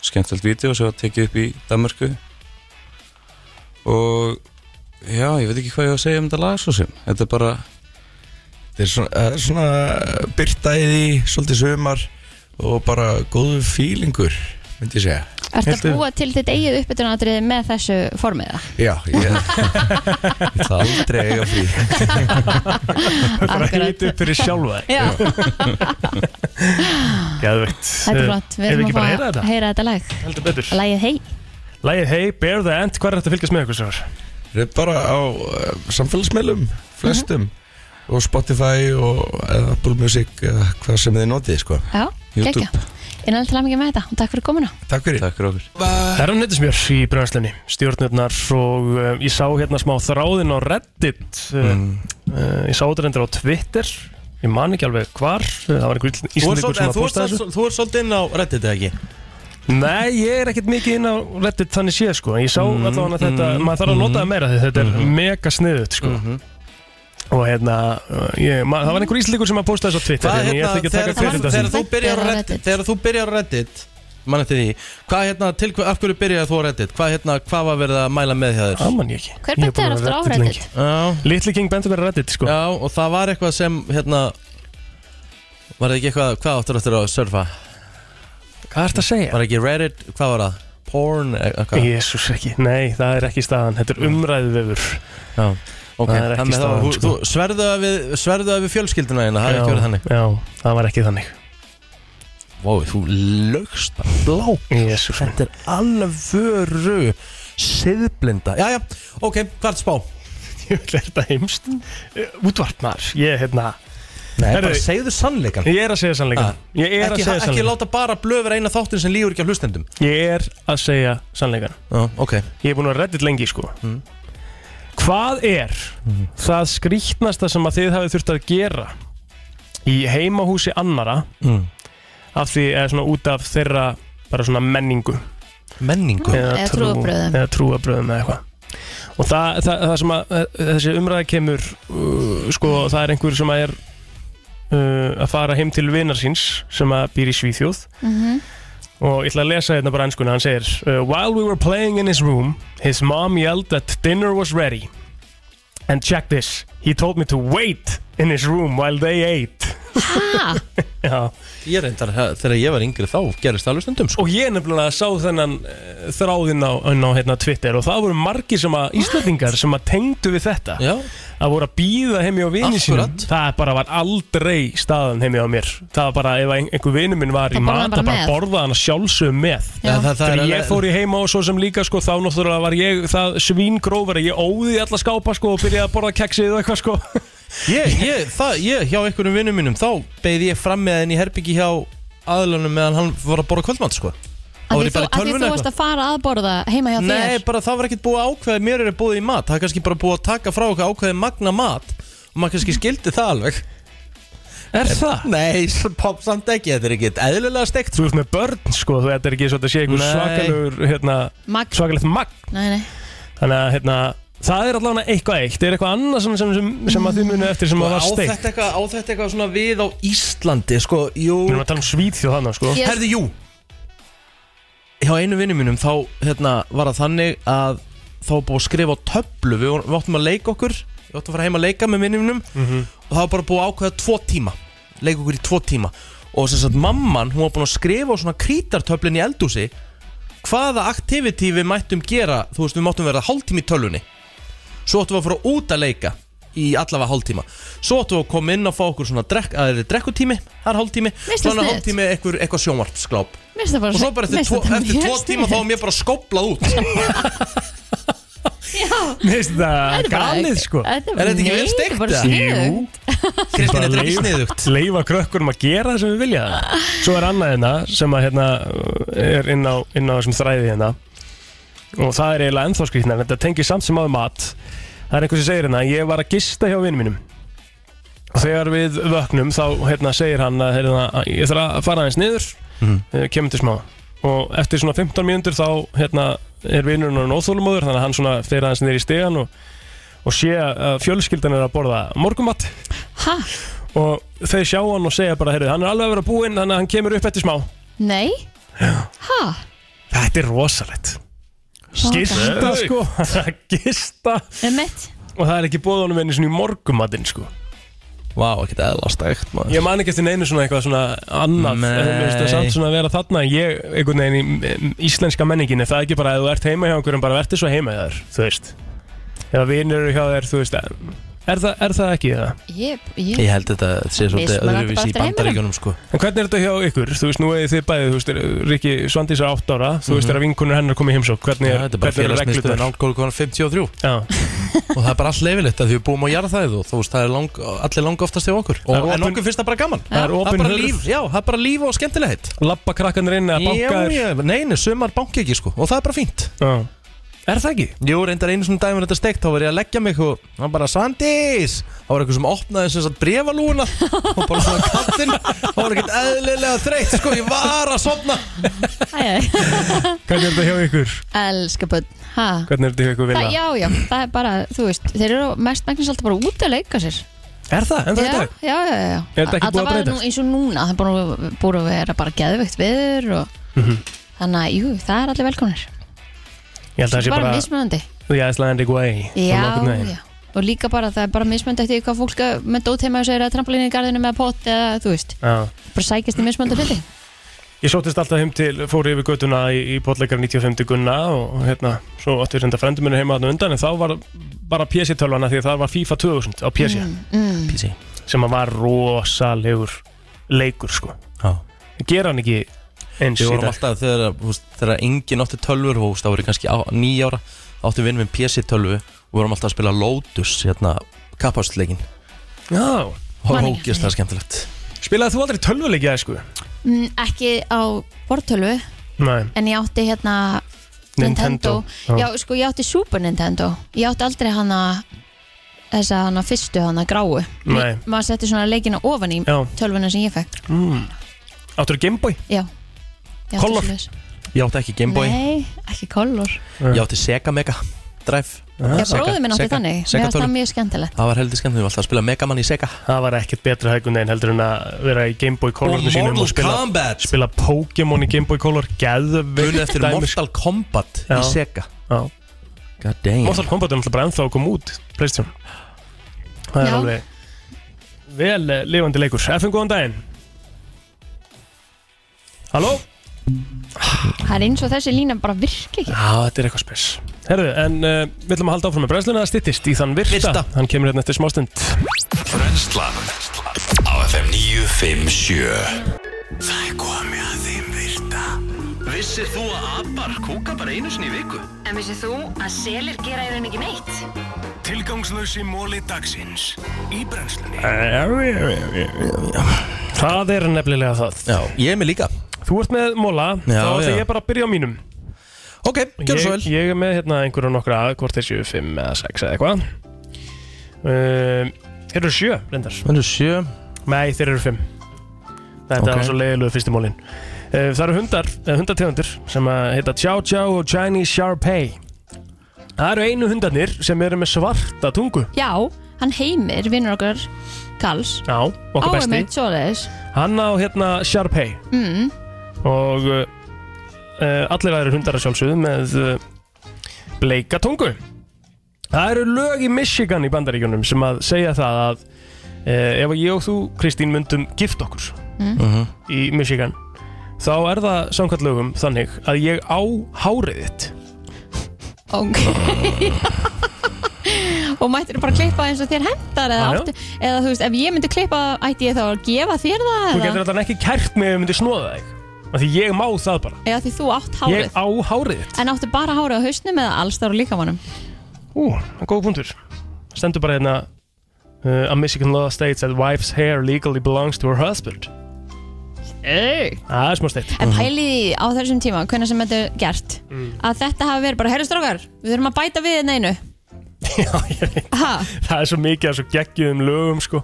skemmtilegt vídeo sem var tekið upp í Danmörku og já, ég veit ekki hvað ég á að segja um þetta lag svo sem. Þetta er bara,
þetta er svona, það er svona byrtaði því svolítið sumar og bara góðu fílingur myndi ég segja
Ertu
Hildur?
að búa til þitt eigið uppbytunaratriði með þessu formiða?
Já, ég Ég ætla aldrei að eiga frí
Bara hýta upp fyrir sjálfa þig.
Já,
Geðveikt.
þetta er flott Við
Ef
erum
Eh, ekki
að fá
bara að heyra þetta?
heyra þetta lag
Heldur betur.
Lagið hei
Lægið Hey, Bear the End, hvað er þetta að fylgjast með ykkur sér?
Við erum bara á uh, samfélagsmeilum, flestum og Spotify og eða Apple Music eða hvað sem þið notið sko.
Já,
YouTube.
geggja Innanlega til að mikið með þetta og takk fyrir komuna
Takk fyrir
Takk fyrir okkur
Það er hann hittis mér í brennslunni, stjórnirnar og uh, ég sá hérna smá þráðin á Reddit uh,
Mm.
uh, Ég sá þetta reyndir á Twitter, ég man ekki alveg hvar uh, Það var einhver
Þú ert
íslendingur
svolítið-
sem
en
að
þú
posta
ert
þessu
svolítið- þú ert svolítið inn á Reddit eða ekki?
Nei, ég er ekkert mikið inn á Reddit þannig séð sko En ég sá
Mm,
mm, Mm-hmm. allavega að þetta,
mm,
maður þarf að
mm.
nota það meira því þetta er mega sniðut sko Og hérna, uh, ég, maður, það var einhver íslendingur sem að posta þessu á Twitter
Hvað
en ég
hérna,
ætla ekki að
þegar
taka
þú-
kredit af
þegar þú
því.
byrjar á Reddit Þegar þú byrjar á Reddit Man eftir því Hvað hérna, til, hver- af hverju byrjar þú á Reddit? Hvað hérna, hvað var verið að mæla með hjá þér?
Það man ég ekki
Hver benti þér aftur á Reddit?
Little King benti mér á Reddit sko
Já, og það var eitthvað sem, hérna Var það ekki eitthvað, hvað áttur áttur að surfa?
Hvað ert að segja?
Var ekki Reddit, hvað var það? Porn, e- eitthvað
Jésús ekki, nei það er ekki staðan Þetta er umræðu vefur
Já, ok.
Það er ekki
Þannig að það var-
staðan
þú- þú- Sverðu að við, sverðu að við fjölskylduna hérna, það er
Já,
ekki verið þannig
Já, það var ekki þannig
Vá, þú lögst bara blá
Jésús
Þetta er alvöru siðblinda Jæja, ok, hvað er spá?
Ég vil er þetta heimst Útvarp maður, Eh, ég er hérna
Nei,
Herðu,
bara segðu sannleikan
Ég er að segja sannleikan Ég er að
ekki,
segja
ekki
sannleikan
láta bara blöfur eina þáttin sem lífur ekki af hlustendum
Ég er að segja sannleikan
Já, ok
Ég er búin að reddit lengi sko Hvað er það skrýtnasta sem að þið hafið þurft að gera í heimahúsi annara
Mm.
af því eða svona út af þeirra bara svona menningu
Menningu?
Eða trúarbrögðum.
eða trúabröðum eða eitthvað og það, það, það sem að eh, þessi umræða kemur uh, sko það er einhver sem að er uh, að fara heim til vinar síns sem að býr í Svíþjóð
Mhm.
og ég ætla að lesa hérna bara enskuna, hann segir uh, While we were playing in his room, his mom yelled that dinner was ready And check this, he told me to wait in his room while they ate
Ha?
Já
Ég reyndar, það- þegar ég var yngri þá gerist það hlustendum sko
Og ég nefnilega sá þennan eh, þráðinn á, inn á hérna, Twitter og það voru margir sem að Íslandingar sem að tengdu við þetta
Já.
að voru að býða heimi á vini sínum
Akkurat.
það bara var aldrei staðan heimi á mér það var bara ef ein- einhver vini minn var
Þá
í
borðaði hann
mat
bara
að bara
með.
borða hann sjálfsögum með
Já. Já, það- það er
þegar
alveg-
ég fór í heima og svo sem líka sko, þá náttúrulega var ég það svíngrófari ég óði alla skápa sko, og byrjaði að borða keksið og eitthvað sko.
Ég, ég, það, ég, hjá einhverjum vinnum mínum Þá beigði ég fram með henni í herbyggi hjá aðlunum meðan hann var að borða kvöldmatt sko Þá
Af
var
því
ég
þú
bara í
af því
tölvunni
þú
eitthvað.
varst að fara að borða heima hjá
Nei,
þér
bara það var ekkert búið að ákveða mér er búið í mat Það er kannski bara búið að taka frá okkar ákveði magna mat Og maður kannski skildi það alveg
Er það?
Nei, s- pop, samt ekki, þetta er ekkert eðlilega steikt
Þú ert með börn sko, þú- þetta er ekki svo að þetta sé einhver
Nei.
svakalegur hérna,
Magn.
svakalegt magn
Nei, nei
Þannig að hérna, það er allavega eitthvað eitt Er eitthvað annað sem, sem, sem, sem að þið munið eftir sem að
Og
var
á
steikt
þetta eitthvað, á þetta eitthvað svona við á Íslandi, sko, jú
Við erum að tala um Svíþjóð þannig sko
Yes. Herði, jú Hjá einu vinnu mínum þá, hérna, var það þannig að Þá var búið að skrifa á töflu Við, vorum- við áttum að leika okkur Við áttum að fara heim að leika með vinnum mínum
Mhm.
og það var bara búið að ákveða tvo tíma leik okkur í tvo tíma og sem sagt mamman, hún var búin að skrifa á svona krítartöflin í eldúsi hvaða aktiviti við mættum gera þú veist, við máttum vera hálftími í tölvunni svo áttum við að fara út að leika í allavega hálftíma svo áttum við að koma inn og fá okkur svona drekk, að það er drekkutími, það er hálftími
Veist það
svona
sniðugt?
hálftími eitthvað, eitthvað sjónvarpsgláp
Mér finnst það bara
og svo bara eftir,
mér
tvo,
finnst þetta
eftir
mjög
tvo tíma þá
sniðugt.
var mér bara skoplað út
Mér finnst
Þetta
þetta
er bara-
galið sko
þetta er bara- Er þetta ekki vel nei, þetta er steikt, bara eða? sniðugt.
Kristín, þetta er ekki sniðugt
Leifa krökkurum að gera það sem við vilja Svo er annað hérna sem að hérna er inn á, inn á þessum þræði hérna Og það er eiginlega ennþá skrýtna Þetta tengir samt sem áður mat Það er einhver sem segir hérna Ég var að gista hjá vinum mínum Og þegar við vöknum þá hérna, segir hann að hérna, að ég þarf að fara aðeins niður mm. kemur til smá og eftir svona 15 mínútur þá hérna, er vinurinn og nóþólumóður þannig að hann svona fer aðeins niður í stegan og, og sé að fjölskyldan er að borða morgumatt
Ha?
og þau sjá hann og segja bara heyrðu, hann er alveg að vera búinn þannig að hann kemur upp eftir smá
Nei? Ha?
Þetta er rosalegt Gista
Svakalegt.
sko Gista
Emmett Um
Og það er ekki búið honum einu svona í morgumatinn sko
Vá, ekkert eðla stækt maður
Ég man ekki eftir neinu svona eitthvað svona annað
Nei.
en þú veist, það er samt svona að vera þarna ég, einhvern veginn í m- íslenska menningin er það ekki bara að þú ert heima hjá einhverjum bara verður svo heima hjá þér, þú veist eða vinur eru hjá þér, þú veist er, er, það, er það ekki það?
Ég, ég,
Ég held þetta sé svolítið
Mismunandi bara
öðruvísi í
eftir heiminum.
bandaríkjunum sko
En hvernig er þetta hjá ykkur? Þú veist, nú eða þið bæði, þú veist, Riki Svandís er átt ára, þú veist,
Mhm.
er að vinkunur hennar komið heimsók, hvernig
Já,
er,
þetta er bara
hvernig er
félagsmiðstöðin álgóðukonan 53
Já.
og það er bara allt leifilegt að því við búum á jarðæðu og þú veist það er lang, allir langa oftast hjá okkur og, en okkur finnst það bara gaman
Það
það er
er opin
bara líf, já, það er bara líf og skemmtilegt
Lappa krakkanir inn eða banka
Já,
þér?
já, neini, sumar banki ekki sko og það er bara fínt
já. Er það ekki?
Jú, reyndar einu svona dæmi þetta steikt, þá var ég að leggja mig og hann bara, Svandís, þá var eitthvað sem opnaði sem sagt brefalúna og bara svona kattinn, þá var ekkert eðlilega þreytt, sko, ég var að sopna
Hvernig er þetta hjá ykkur?
elska bönn ha?
Hvernig er þetta hjá ykkur
Það,
vilja?
já, já, það er bara, þú veist, þeir eru mest megnast alltaf bara út að leika sér
Er það? En það
já,
er dag?
já, já, já.
Er þetta ekki búið að
Allavega
breytast?
nú- eins og núna, það er búið að- búið að vera bara geðveikt viður og
Mhm.
þannig að, jú, það er allir velkomnir
Ég held að það sé
bara
bara
mismunandi
The Icelandic Way
já,
svona nokkurn veginn.
já, og líka bara það er bara mismunandi eftir því hvað fólk er- með dót heima þessu er að trampolínu í garðinu með pott eða, þú veist, bara
Já.
sækjast í mismunandi hluti
Ég sóttist alltaf heim til, fór yfir göttuna í, í potleikar 95 til Gunna og hérna, svo áttu við reynda frendur minni heima þarna undan en þá var bara PC-tölvana því að það var FIFA 2000 á PC
mm.
PC
sem að var rosalegur leikur sko
Já.
Gera hann ekki eins
Við
í
vorum
dag
alltaf þegar, þú veist, þegar engin átti tölvur og þú veist, það voru kannski á, nýja ára þá átti við með PC tölvu og vorum alltaf að spila Lotus hérna, kapphástleikin
Já
og var ógeðslega skemmtilegt
Spilaði þú aldrei tölvuleiki að sko?
Mm, ekki á bortölvu
Nei
en ég átti hérna
Nintendo.
Nintendo,
Já.
Já, sko, ég átti Super Nintendo Ég átti aldrei hana þessa hana fyrstu hana gráu
Nei.
Maður setti svona leikina ofan í
Já.
tölvuna sem ég fekk
mm. Áttu Gameboy?
Já Ég átti
Color?
svoleiðis.
Ég átti ekki Gameboy
Nei, ekki Color
Ég átti Sega Mega Drive
Ég bróði minn átti þannig Mér
Sega
átti það
tölvu
mjög skemmtilegt
Það var heldur skemmt, við varum alltaf að spila Mega Man í Sega
Það var ekkert betra hægum neginn heldur en að vera í Gameboy Colornu
Og
sínum
Mortal
og spila,
Kombat.
spila Pokémon í Gameboy Color Geðveikt
Muna eftir
dæmi, sko.
Mortal Kombat
Já.
í Sega
Já.
God damn
Mortal Kombat er náttúrulega bara ennþá að koma út Playstation Það er
Já.
alveg vel eh, lifandi leikur FM góðan daginn Halló?
Það er eins og þessi lína bara virki ekki
Já, þetta er eitthvað spes Herðu, en uh, við ætlum að halda áfram með brennsluna að styttist í þann virta
Virta.
Hann kemur hérna eftir smástund
Brennslan á FM 957 Það er komið að þeim virta
Vissir þú að abar kúka bara einu sinni í viku?
En vissið þú að selir gera í raun ekki neitt?
Tilgangslösi móli dagsins í brennslunni.
Það er nefnilega það
Já, ég er með líka
Þú ert með móla, þá
Já,
ætla
já.
ég bara að byrja á mínum
Ok, gjörðu svo
ég, ég er með hérna einhverju nokkra að, hvort þeir séu 5 eða 6 eða eitthvað um, Þeir eru 7, reyndar
Það eru sjö
Nei, þeir eru fimm Þetta
Ok.
var svo leiðilegu fyrsti mólin Eh, Það eru hundar, eh, hundategundur sem að heita Chow Chow og Chinese Sharpei Það eru einu hundarnir sem eru með svarta tungu
Já, hann heimir, vinnur okkar Kals
Já, okkar besti
Áhæmið, svoleiðis
Hann á hérna Sharpei
mm.
og uh, allir aðrir hundar að sjálfsögðu með uh, bleika tungu Það eru lög í Michigan í bandaríkjunum sem að segja það að uh, ef ég og þú, Kristín, myndum gift okkur
Mm.
í Michigan þá er það samkvæmt lögum þannig að ég á hárið þitt
Ok Og mættir bara klippa eins og þér hendar eða,
Já, já.
áttu, eða þú veist, ef ég myndi klippa ætti ég þá að gefa þér það
Þú
eða?
getur alltaf ekki kært mig ef ég myndi snóða þig af því ég má það bara
Já, því þú átt hárið
Ég á hárið þitt
En áttu bara hárið á hausnum eða allstar á líkamannum
Ú, það er góð punktur Stendur bara hérna uh, A Michigan law states that wife's hair legally belongs to her husband
Hey.
Það er smá steitt
En pæliði á þessum tíma, hvernig sem þetta er gert
Mhm. Mm.
Að þetta hafi verið bara, herru strókar, við þurfum að bæta við þetta einu Ha,
Það er svo mikið af svo geggjum lögum sko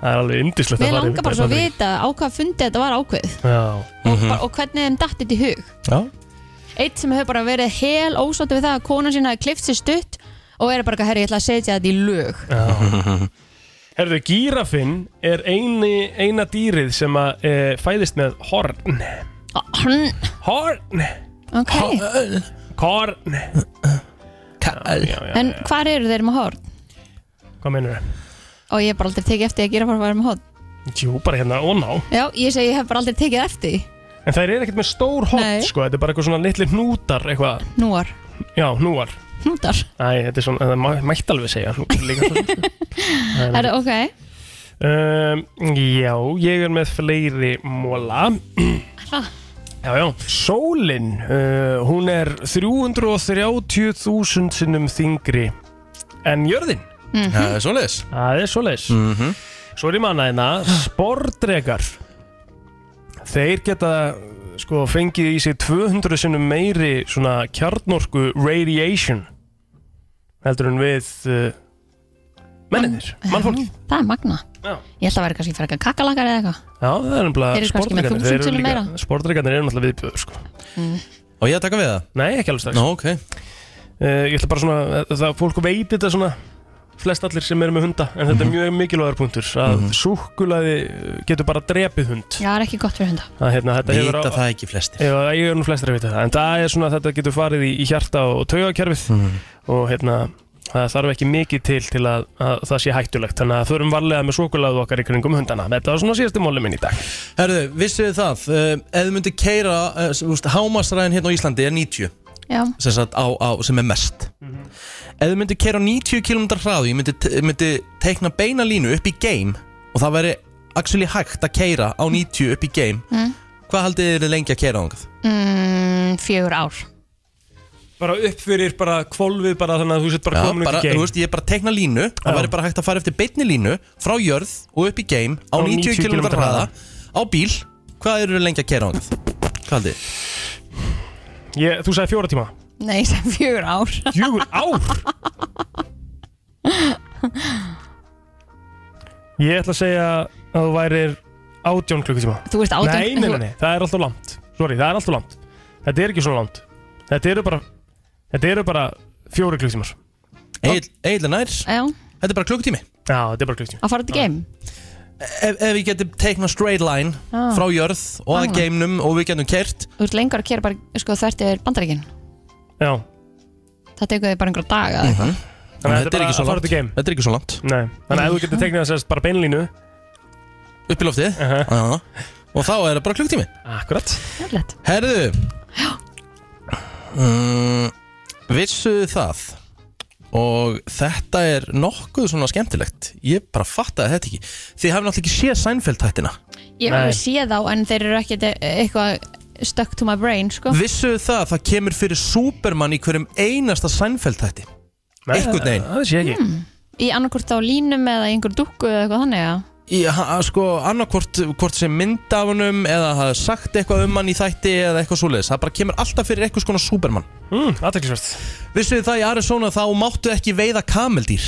Það er alveg indislegt
Við langar bara svo að vita á hvað fundi þetta var ákveð
Já
bara, Og hvernig þeim datt þetta í hug
Mm. Já
Eitt sem hefur bara verið hel ósáttu við það að kona sína hafi klift sér stutt Og er bara, eitthvað, herru, ég ætla að setja þetta í lög
Já. Herðu, gírafinn er eini, eina dýrið sem að e, fæðist með horn
Hann
Horn
Ok,
Korn
Kall
Já, já,
en
já.
hvar eru þeir með hórn?
Hvað meinur það?
og ég hef bara aldrei tekið eftir því að gera bara varum hot
Jú, bara hérna on á
Já, ég segi ég hef bara aldrei tekið eftir því.
En það er ekkert með stór hot,
Nei.
sko Þetta er bara eitthvað svona litli hnútar eitthvað
Núar,
Já, hnúar
hnútar
Æ, þetta er svona, það má- mætti alveg segja hnútar líka svo sem. Það er-
Er það ok?
um, Já, ég er með fleiri móla
Ha.
Já, já, sólin uh, Hún er 330.000 sinnum þingri En jörðin
Mhm. Það er
svoleiðis Það er svoleiðis Svo er ég manna hérna Spordregar Þeir geta sko fengið í sig 200 sinnum meiri svona kjarnorku radiation heldur en við uh, menninir, mannfólki
Það er magna
Já.
Ég ætla að vera kannski frekar kakalakar eða eitthvað
Já, það
Þeir
er nefnilega
eru kannski með 1000
sportdrekkarnir, þeir eru
sinnum
líka-
meira.
Sportdrekkarnir eru náttúrulega viðbjöður sko.
Mm.
Og ég að taka við það? Nei, ekki alveg strax Nó, ok Ég ætla bara svona, eh, það fólk veit þetta svona flest allir sem eru með hunda en þetta er mjög mikilvægur punktur að mm getur bara drepið hund
Já, það er ekki gott fyrir hunda
að, hérna, þetta
Vita
hefur á-
það Eh, ekki flestir.
Já, ég er nú flestir að vita það En það er svona að þetta getur farið í, í hjarta og taugakerfið
Mhm.
Og hérna, það þarf ekki mikið til til að, að það sé hættulegt Þannig að förum varlega með svokulæðu okkar í kringum hundana Þetta var svona síðasti móli minn í dag
Herðu, vissið þið það, um, ef þið myndir keira, uh, hámasræðin hérna á Íslandi er 90
Já,
sem, sagt, á, á, sem er mest Ef þið myndir keira á 90 km hraðu, ég myndi, te- myndi teikna beina línu upp í game og það væri actually hægt að keira á 90 upp í game
mm.
Hvað haldið þið lengi að keira ángað?
Mm, fjögur ár
Bara upp fyrir bara kvolfið bara þannig að þú sett bara
Já,
komin upp
bara,
í game
þú veist, ég bara tekna línu það væri bara hægt að fara eftir beinni línu frá jörð og upp í game á, 90 km hraða á bíl hvað eru lengi að kera á hvað haldið þið?
ég, Þú sagði fjóra tíma
Nei, sem fjögur ár
Fjögur ár? Ég ætla að segja að þú værir átjón klukkutíma
Þú veist 18
Nei, nei, nei,
þú-
nei, það er alltaf langt Sorry, það er alltaf langt Þetta er ekki svona langt Þetta eru bara, þetta eru bara fjóri klukkutímar
Egil er nær
Já,
þetta er bara klukkutími
Já, þetta er bara klukkutími
að fara til game
ef, ef við getum teikna straight line
Já.
frá jörð og að
Já.
game'num og við getum kert
Þú ert lengur að kera bara sko, þvert yfir bandaríkin
Já
Það tekur þig bara einhverja daga eða eitthvað.
Mhm. Þannig að þetta er
ekki
bara
svo
að fara
langt.
til game
Þetta er ekki svo langt
Nei, þannig að ef þú getur teknið þess bara beinlínu
upp í loftið
Uh-huh.
Já. og þá er það bara klukkutími
Akkurat
Nefnilegt.
Herðu um, Vissuðu það Og þetta er nokkuð svona skemmtilegt Ég bara fattaði þetta ekki Þið hafið náttúrulega ekki séð Seinfeld hættina
Ég hef alveg séð á en þeir eru ekkert e- eitthvað stuck to my brain sko.
Vissuðu það að það kemur fyrir Superman í hverjum einasta Seinfeld hætti
Nei,
Einhvern veginn
Það sé ekki
mm.
Í annarkvort á línum eða í einhver dúkku eða eitthvað þannig að
Sko, annarkvort hvort sem mynd af honum Eða hafði sagt eitthvað um hann í þætti Eða eitthvað svoleiðis Það bara kemur alltaf fyrir eitthvað skona Superman
mm, Aðteklisvert
Vissuðu það í Arizona þá máttu ekki veiða kameldýr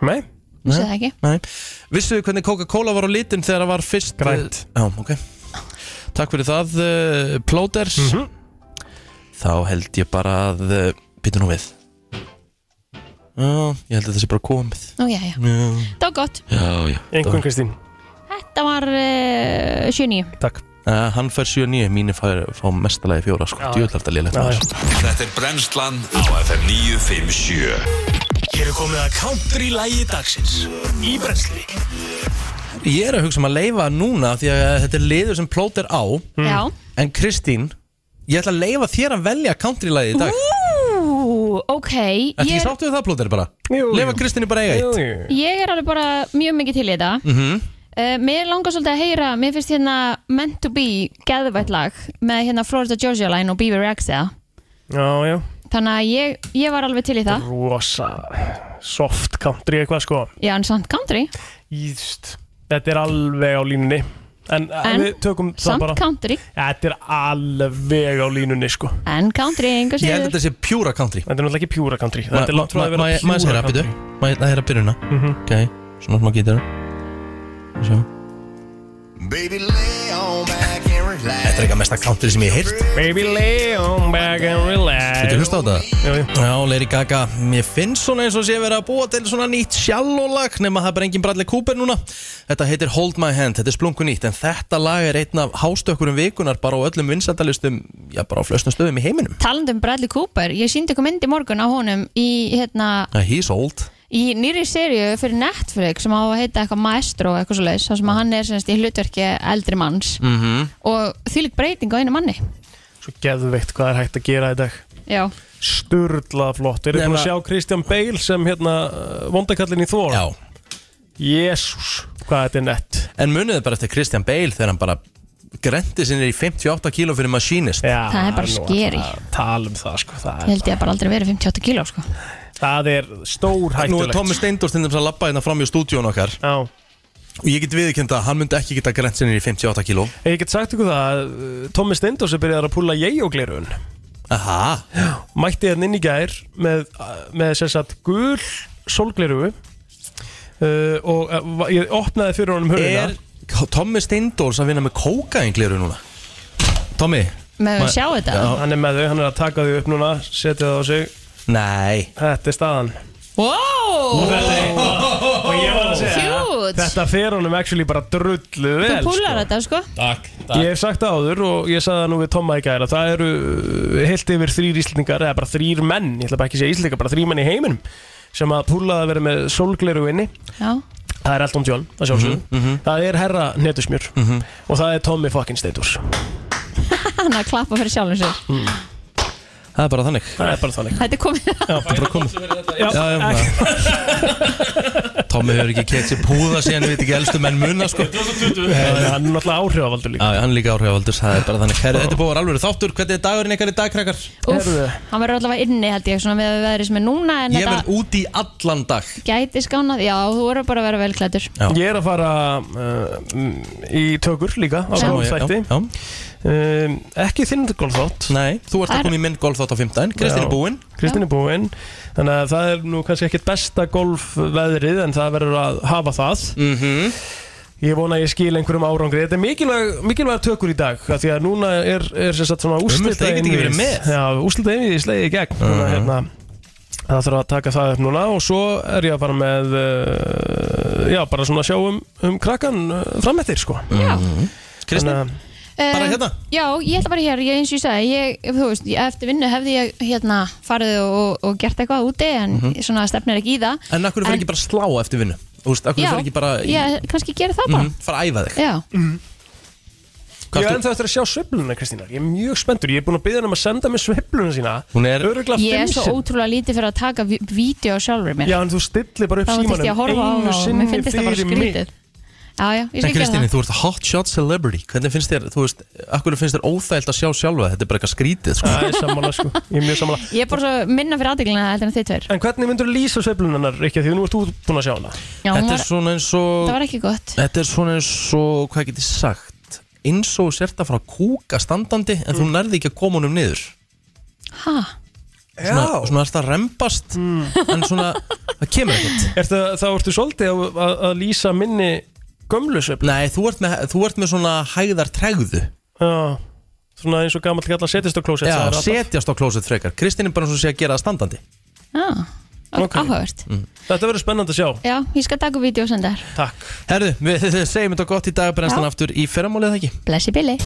Nei
Vissi það ekki
Nei. Vissuðu hvernig Coca-Cola var á litin þegar það var fyrst eh,
Grænt.
Já, ok Takk fyrir það, uh, Plóters
Mhm.
Þá held ég bara að uh, Býtu nú við Já, ég held að það sé bara komið
Nú, já, já.
Já,
Mm.
Það var gott
já, já
Einhvern Kristín
Þetta var uh, 7-9
Takk
uh, Hann fær 7-9, mínir fær, fá mestalagi fjóra sko,
Já, já.
djúðlega lélegt
Já, já.
Þetta er Brennslan á FM 957
Hér er komið að country lægi dagsins Í brensli
Ég er að hugsa um að leifa núna því að þetta er liður sem plóter á
Mm.
Já.
En Kristín, ég ætla að leifa þér að velja country-lagið í dag
Ú, ok
Ertu ekki
ég,
sáttu við það plóter bara?
Jú,
Leifa Kristín bara eiga eitt
ég er alveg bara mjög mikið til í þetta
Mhm.
uh, Mér langar svolítið að heyra Mér finnst hérna Meant to be geðvætt lag með hérna Florida Georgia Line og Beaver X eða
Já, já
Þannig að ég, ég var alveg til í það
Rosa soft country eitthvað sko
Já, en samt country
Íst Þetta er alveg á línunni En, eh,
En
við tökum það
Samt
bara
country
Þetta er alveg á línunni sko
En country, einhver
Ég held
sér
að þetta sé pjúra country
Þetta er náttúrulega ekki pjúra country
Ma-
Þetta er langt frá
ma-
að vera
ma- Maður
pjúra
sér að byrju
country Mhm.
Maður að byrjuna Ok, svona smá gítar Sjá
Baby, lay on back and relax.
Þetta er eitthvað mesta country sem ég heilt
Baby lay on back and relax
Þetta er hlusta á þetta
Jú,
jú Já, Lady Gaga Mér finnst svona eins og sé verið að búa til svona nýtt sjallolag nema það er bara engin Bradley Cooper núna Þetta heitir Hold My Hand Þetta er splunku nýtt En þetta lag er einn af hástökkurum vikunar bara á öllum vinsendalistum Já, bara á flestum stöðum í heiminum
Talandi um Bradley Cooper Ég síndi ykkur mynd í morgun á honum í hérna
Uh, He's old
í nýri seríu fyrir Netflix sem á að heita eitthvað maestro eitthvað svo leiðis, sem að hann er semst í hlutverki eldri manns
Mhm.
og þvílik breyting á einu manni
Svo geðveikt hvað er hægt að gera í dag
Já,
Sturla flott Eruð þið búin að sjá Kristján Bale sem hérna uh, vondakallin í Thor?
Já
Jésús, hvað þetta er nett
En muniðu bara eftir Christian Bale þegar hann bara grendi sinni í 58 kíló fyrir Machinist
Já,
Það er bara
nú
scary.
að Tala um það sko Það er,
held ég að bara aldrei verið 58 kíló sko.
það er stór hættulegt
Nú er Tómi Steindórs til þess að labba hérna fram í stúdíón okkar
Já
Og ég get viðkynnt að hann myndi ekki geta grendi sinni í 58 kíló
Ég get sagt ykkur það að uh, Tómi Steindós er byrjað að púla ég og glirun
Aha
Mætti hann inn í gær með, uh, með sem sagt gul sólgliru uh, og uh, va- ég opnaði fyrir honum hurðina
Er Tommi Steindórs að vinna með kókaingleru núna? Tommi
Megum við sjá þetta?
Já, Hann er með þau, hann er að taka þau upp núna setja það á sig
Nei
Þetta er staðan
Wow
Og ég var að segja
Huge.
Þetta fer honum actually bara drullu
Þú
vel
púlar þetta sko
Takk, takk. Ég hef sagt það áður og ég sagði það nú við Tomma í gæra Það eru uh, heilt yfir þrýr íslendingar eða bara þrýr menn, ég ætla bara ekki að segja íslendingar bara þrýr menn í heiminum sem að púlaði að vera með sólgleru inni
Já
Það er Elton John, það sjálfsögum
Mhm,
Það er herra netusmjör og það er Tommy fucking Steindors
Eh,
Hann að klappa fyrir sjálfum sér
Það er bara þannig
Það er bara þannig
Þetta er komið
Það er bara komið Já, já, já. Tommi hefur ekki keitt sér púða síðan við ekki elstu menn munna sko.
Nei, Hann er náttúrulega áhrifavaldur líka
Já, já, hann er líka áhrifavaldur, það er bara þannig Herru, þetta er búið að vera alveg þáttur, hvernig er dagurinn ykkar í dag, krakkar?
Úff, hann verður allavega inni held ég svona með að við verðum sem er núna en
Ég
þetta
verð úti í allan dag
gæti skánað Já, þú verður bara að vera vel klættur
Ég er að fara uh, m, í tökur líka á
Já.
golfþætti
Já,
um, Ekki þinn golfþátt
Nei, þú ert að koma í minn golfþátt á 15 Kristín er búinn
Kristín er búinn Þannig að það er nú kannski ekkit besta golfveðrið en það verður að hafa það
Mhm.
-hmm. Ég vona að ég skil einhverjum árangri Þetta er mikilvæg, mikilvæg tökur í dag af Því að núna er, er sem sagt svona úrslita
ég get ekki verið með.
Já, úrslita einvið í slegið í gegn Þannig að hérna Það þarf að taka það upp núna og svo er ég að fara með, uh, já, bara svona að sjá um, um krakkan uh, frammettir, sko.
Já.
Kristín?
Bara hérna? Já, ég ætla bara hér, ég, eins og ég sagði ég, þú veist, ég, eftir vinnu hefði ég hérna farið og, og gert eitthvað úti en
Mhm.
svona stefnir ekki í það
En akkur fyrir ekki bara að slá eftir vinnu Þú veist, akkur
Já,
fyrir ekki bara í-
ég kannski gera það bara
Mhm, Fara að æfa þig
Já,
Ég er ennþá eftir að sjá sveifluna, Kristínar. Ég er mjög spenntur. Ég er búin að byggja hann um að senda mér sveifluna sína.
Hún er...
Öruglega
ég er svo ótrúlega lítið fyrir að taka vi- vídeo sjálfur mér
Já, en þú stillir bara upp
Þá þurfti ég að horfa á það
símanum einu
og
sinni
mér finnst þetta bara
fyrir mig.
skrítið Já, já, ég hérna.
En
skal gera
Kristín,
það
þú ert a hot shot celebrity Hvernig finnst þér, þú veist, akkur finnst þér óþægilt að sjá sjálfa þig? Þetta er bara eitthvað skrítið, sko
Það er sammála, sko Ég er mjög sammála
Ég er bara svo minna fyrir aðdeglina heldur en þið tveir
En hvernig myndur þú lýsa sveiflunanar, Rikki, því nú ert þú búin að sjá hana?
Já, hún
Þetta
var,
er svona eins og
það var ekki gott
Þetta er svona eins og, hvað get ég sagt eins og þú sért að fara að kúka standandi en
Mm.
þú nærði ekki að koma honum niður
Ha?
svona, svona erst að rembast
Mm.
en svona, það kemur ekkert
Ertu, Þá ertu svolítið að, að, að lýsa minni gömlu sveiflu
Nei, þú ert með, þú ert með svona hæðar tregðu
Já, svona eins og gamall kalla setjast á klósett
Já, setjast á klósett frekar Kristín er bara eins og sé að gera það standandi
Já, ok, áhugavert
Mm.
Þetta verður spennandi að sjá
Já, ég skal taka vídeo og senda þér
Takk
Herðu, við segjum þetta gott í dag brennstan
Já.
aftur í fyrramálið, eða ekki?
Blessi Billy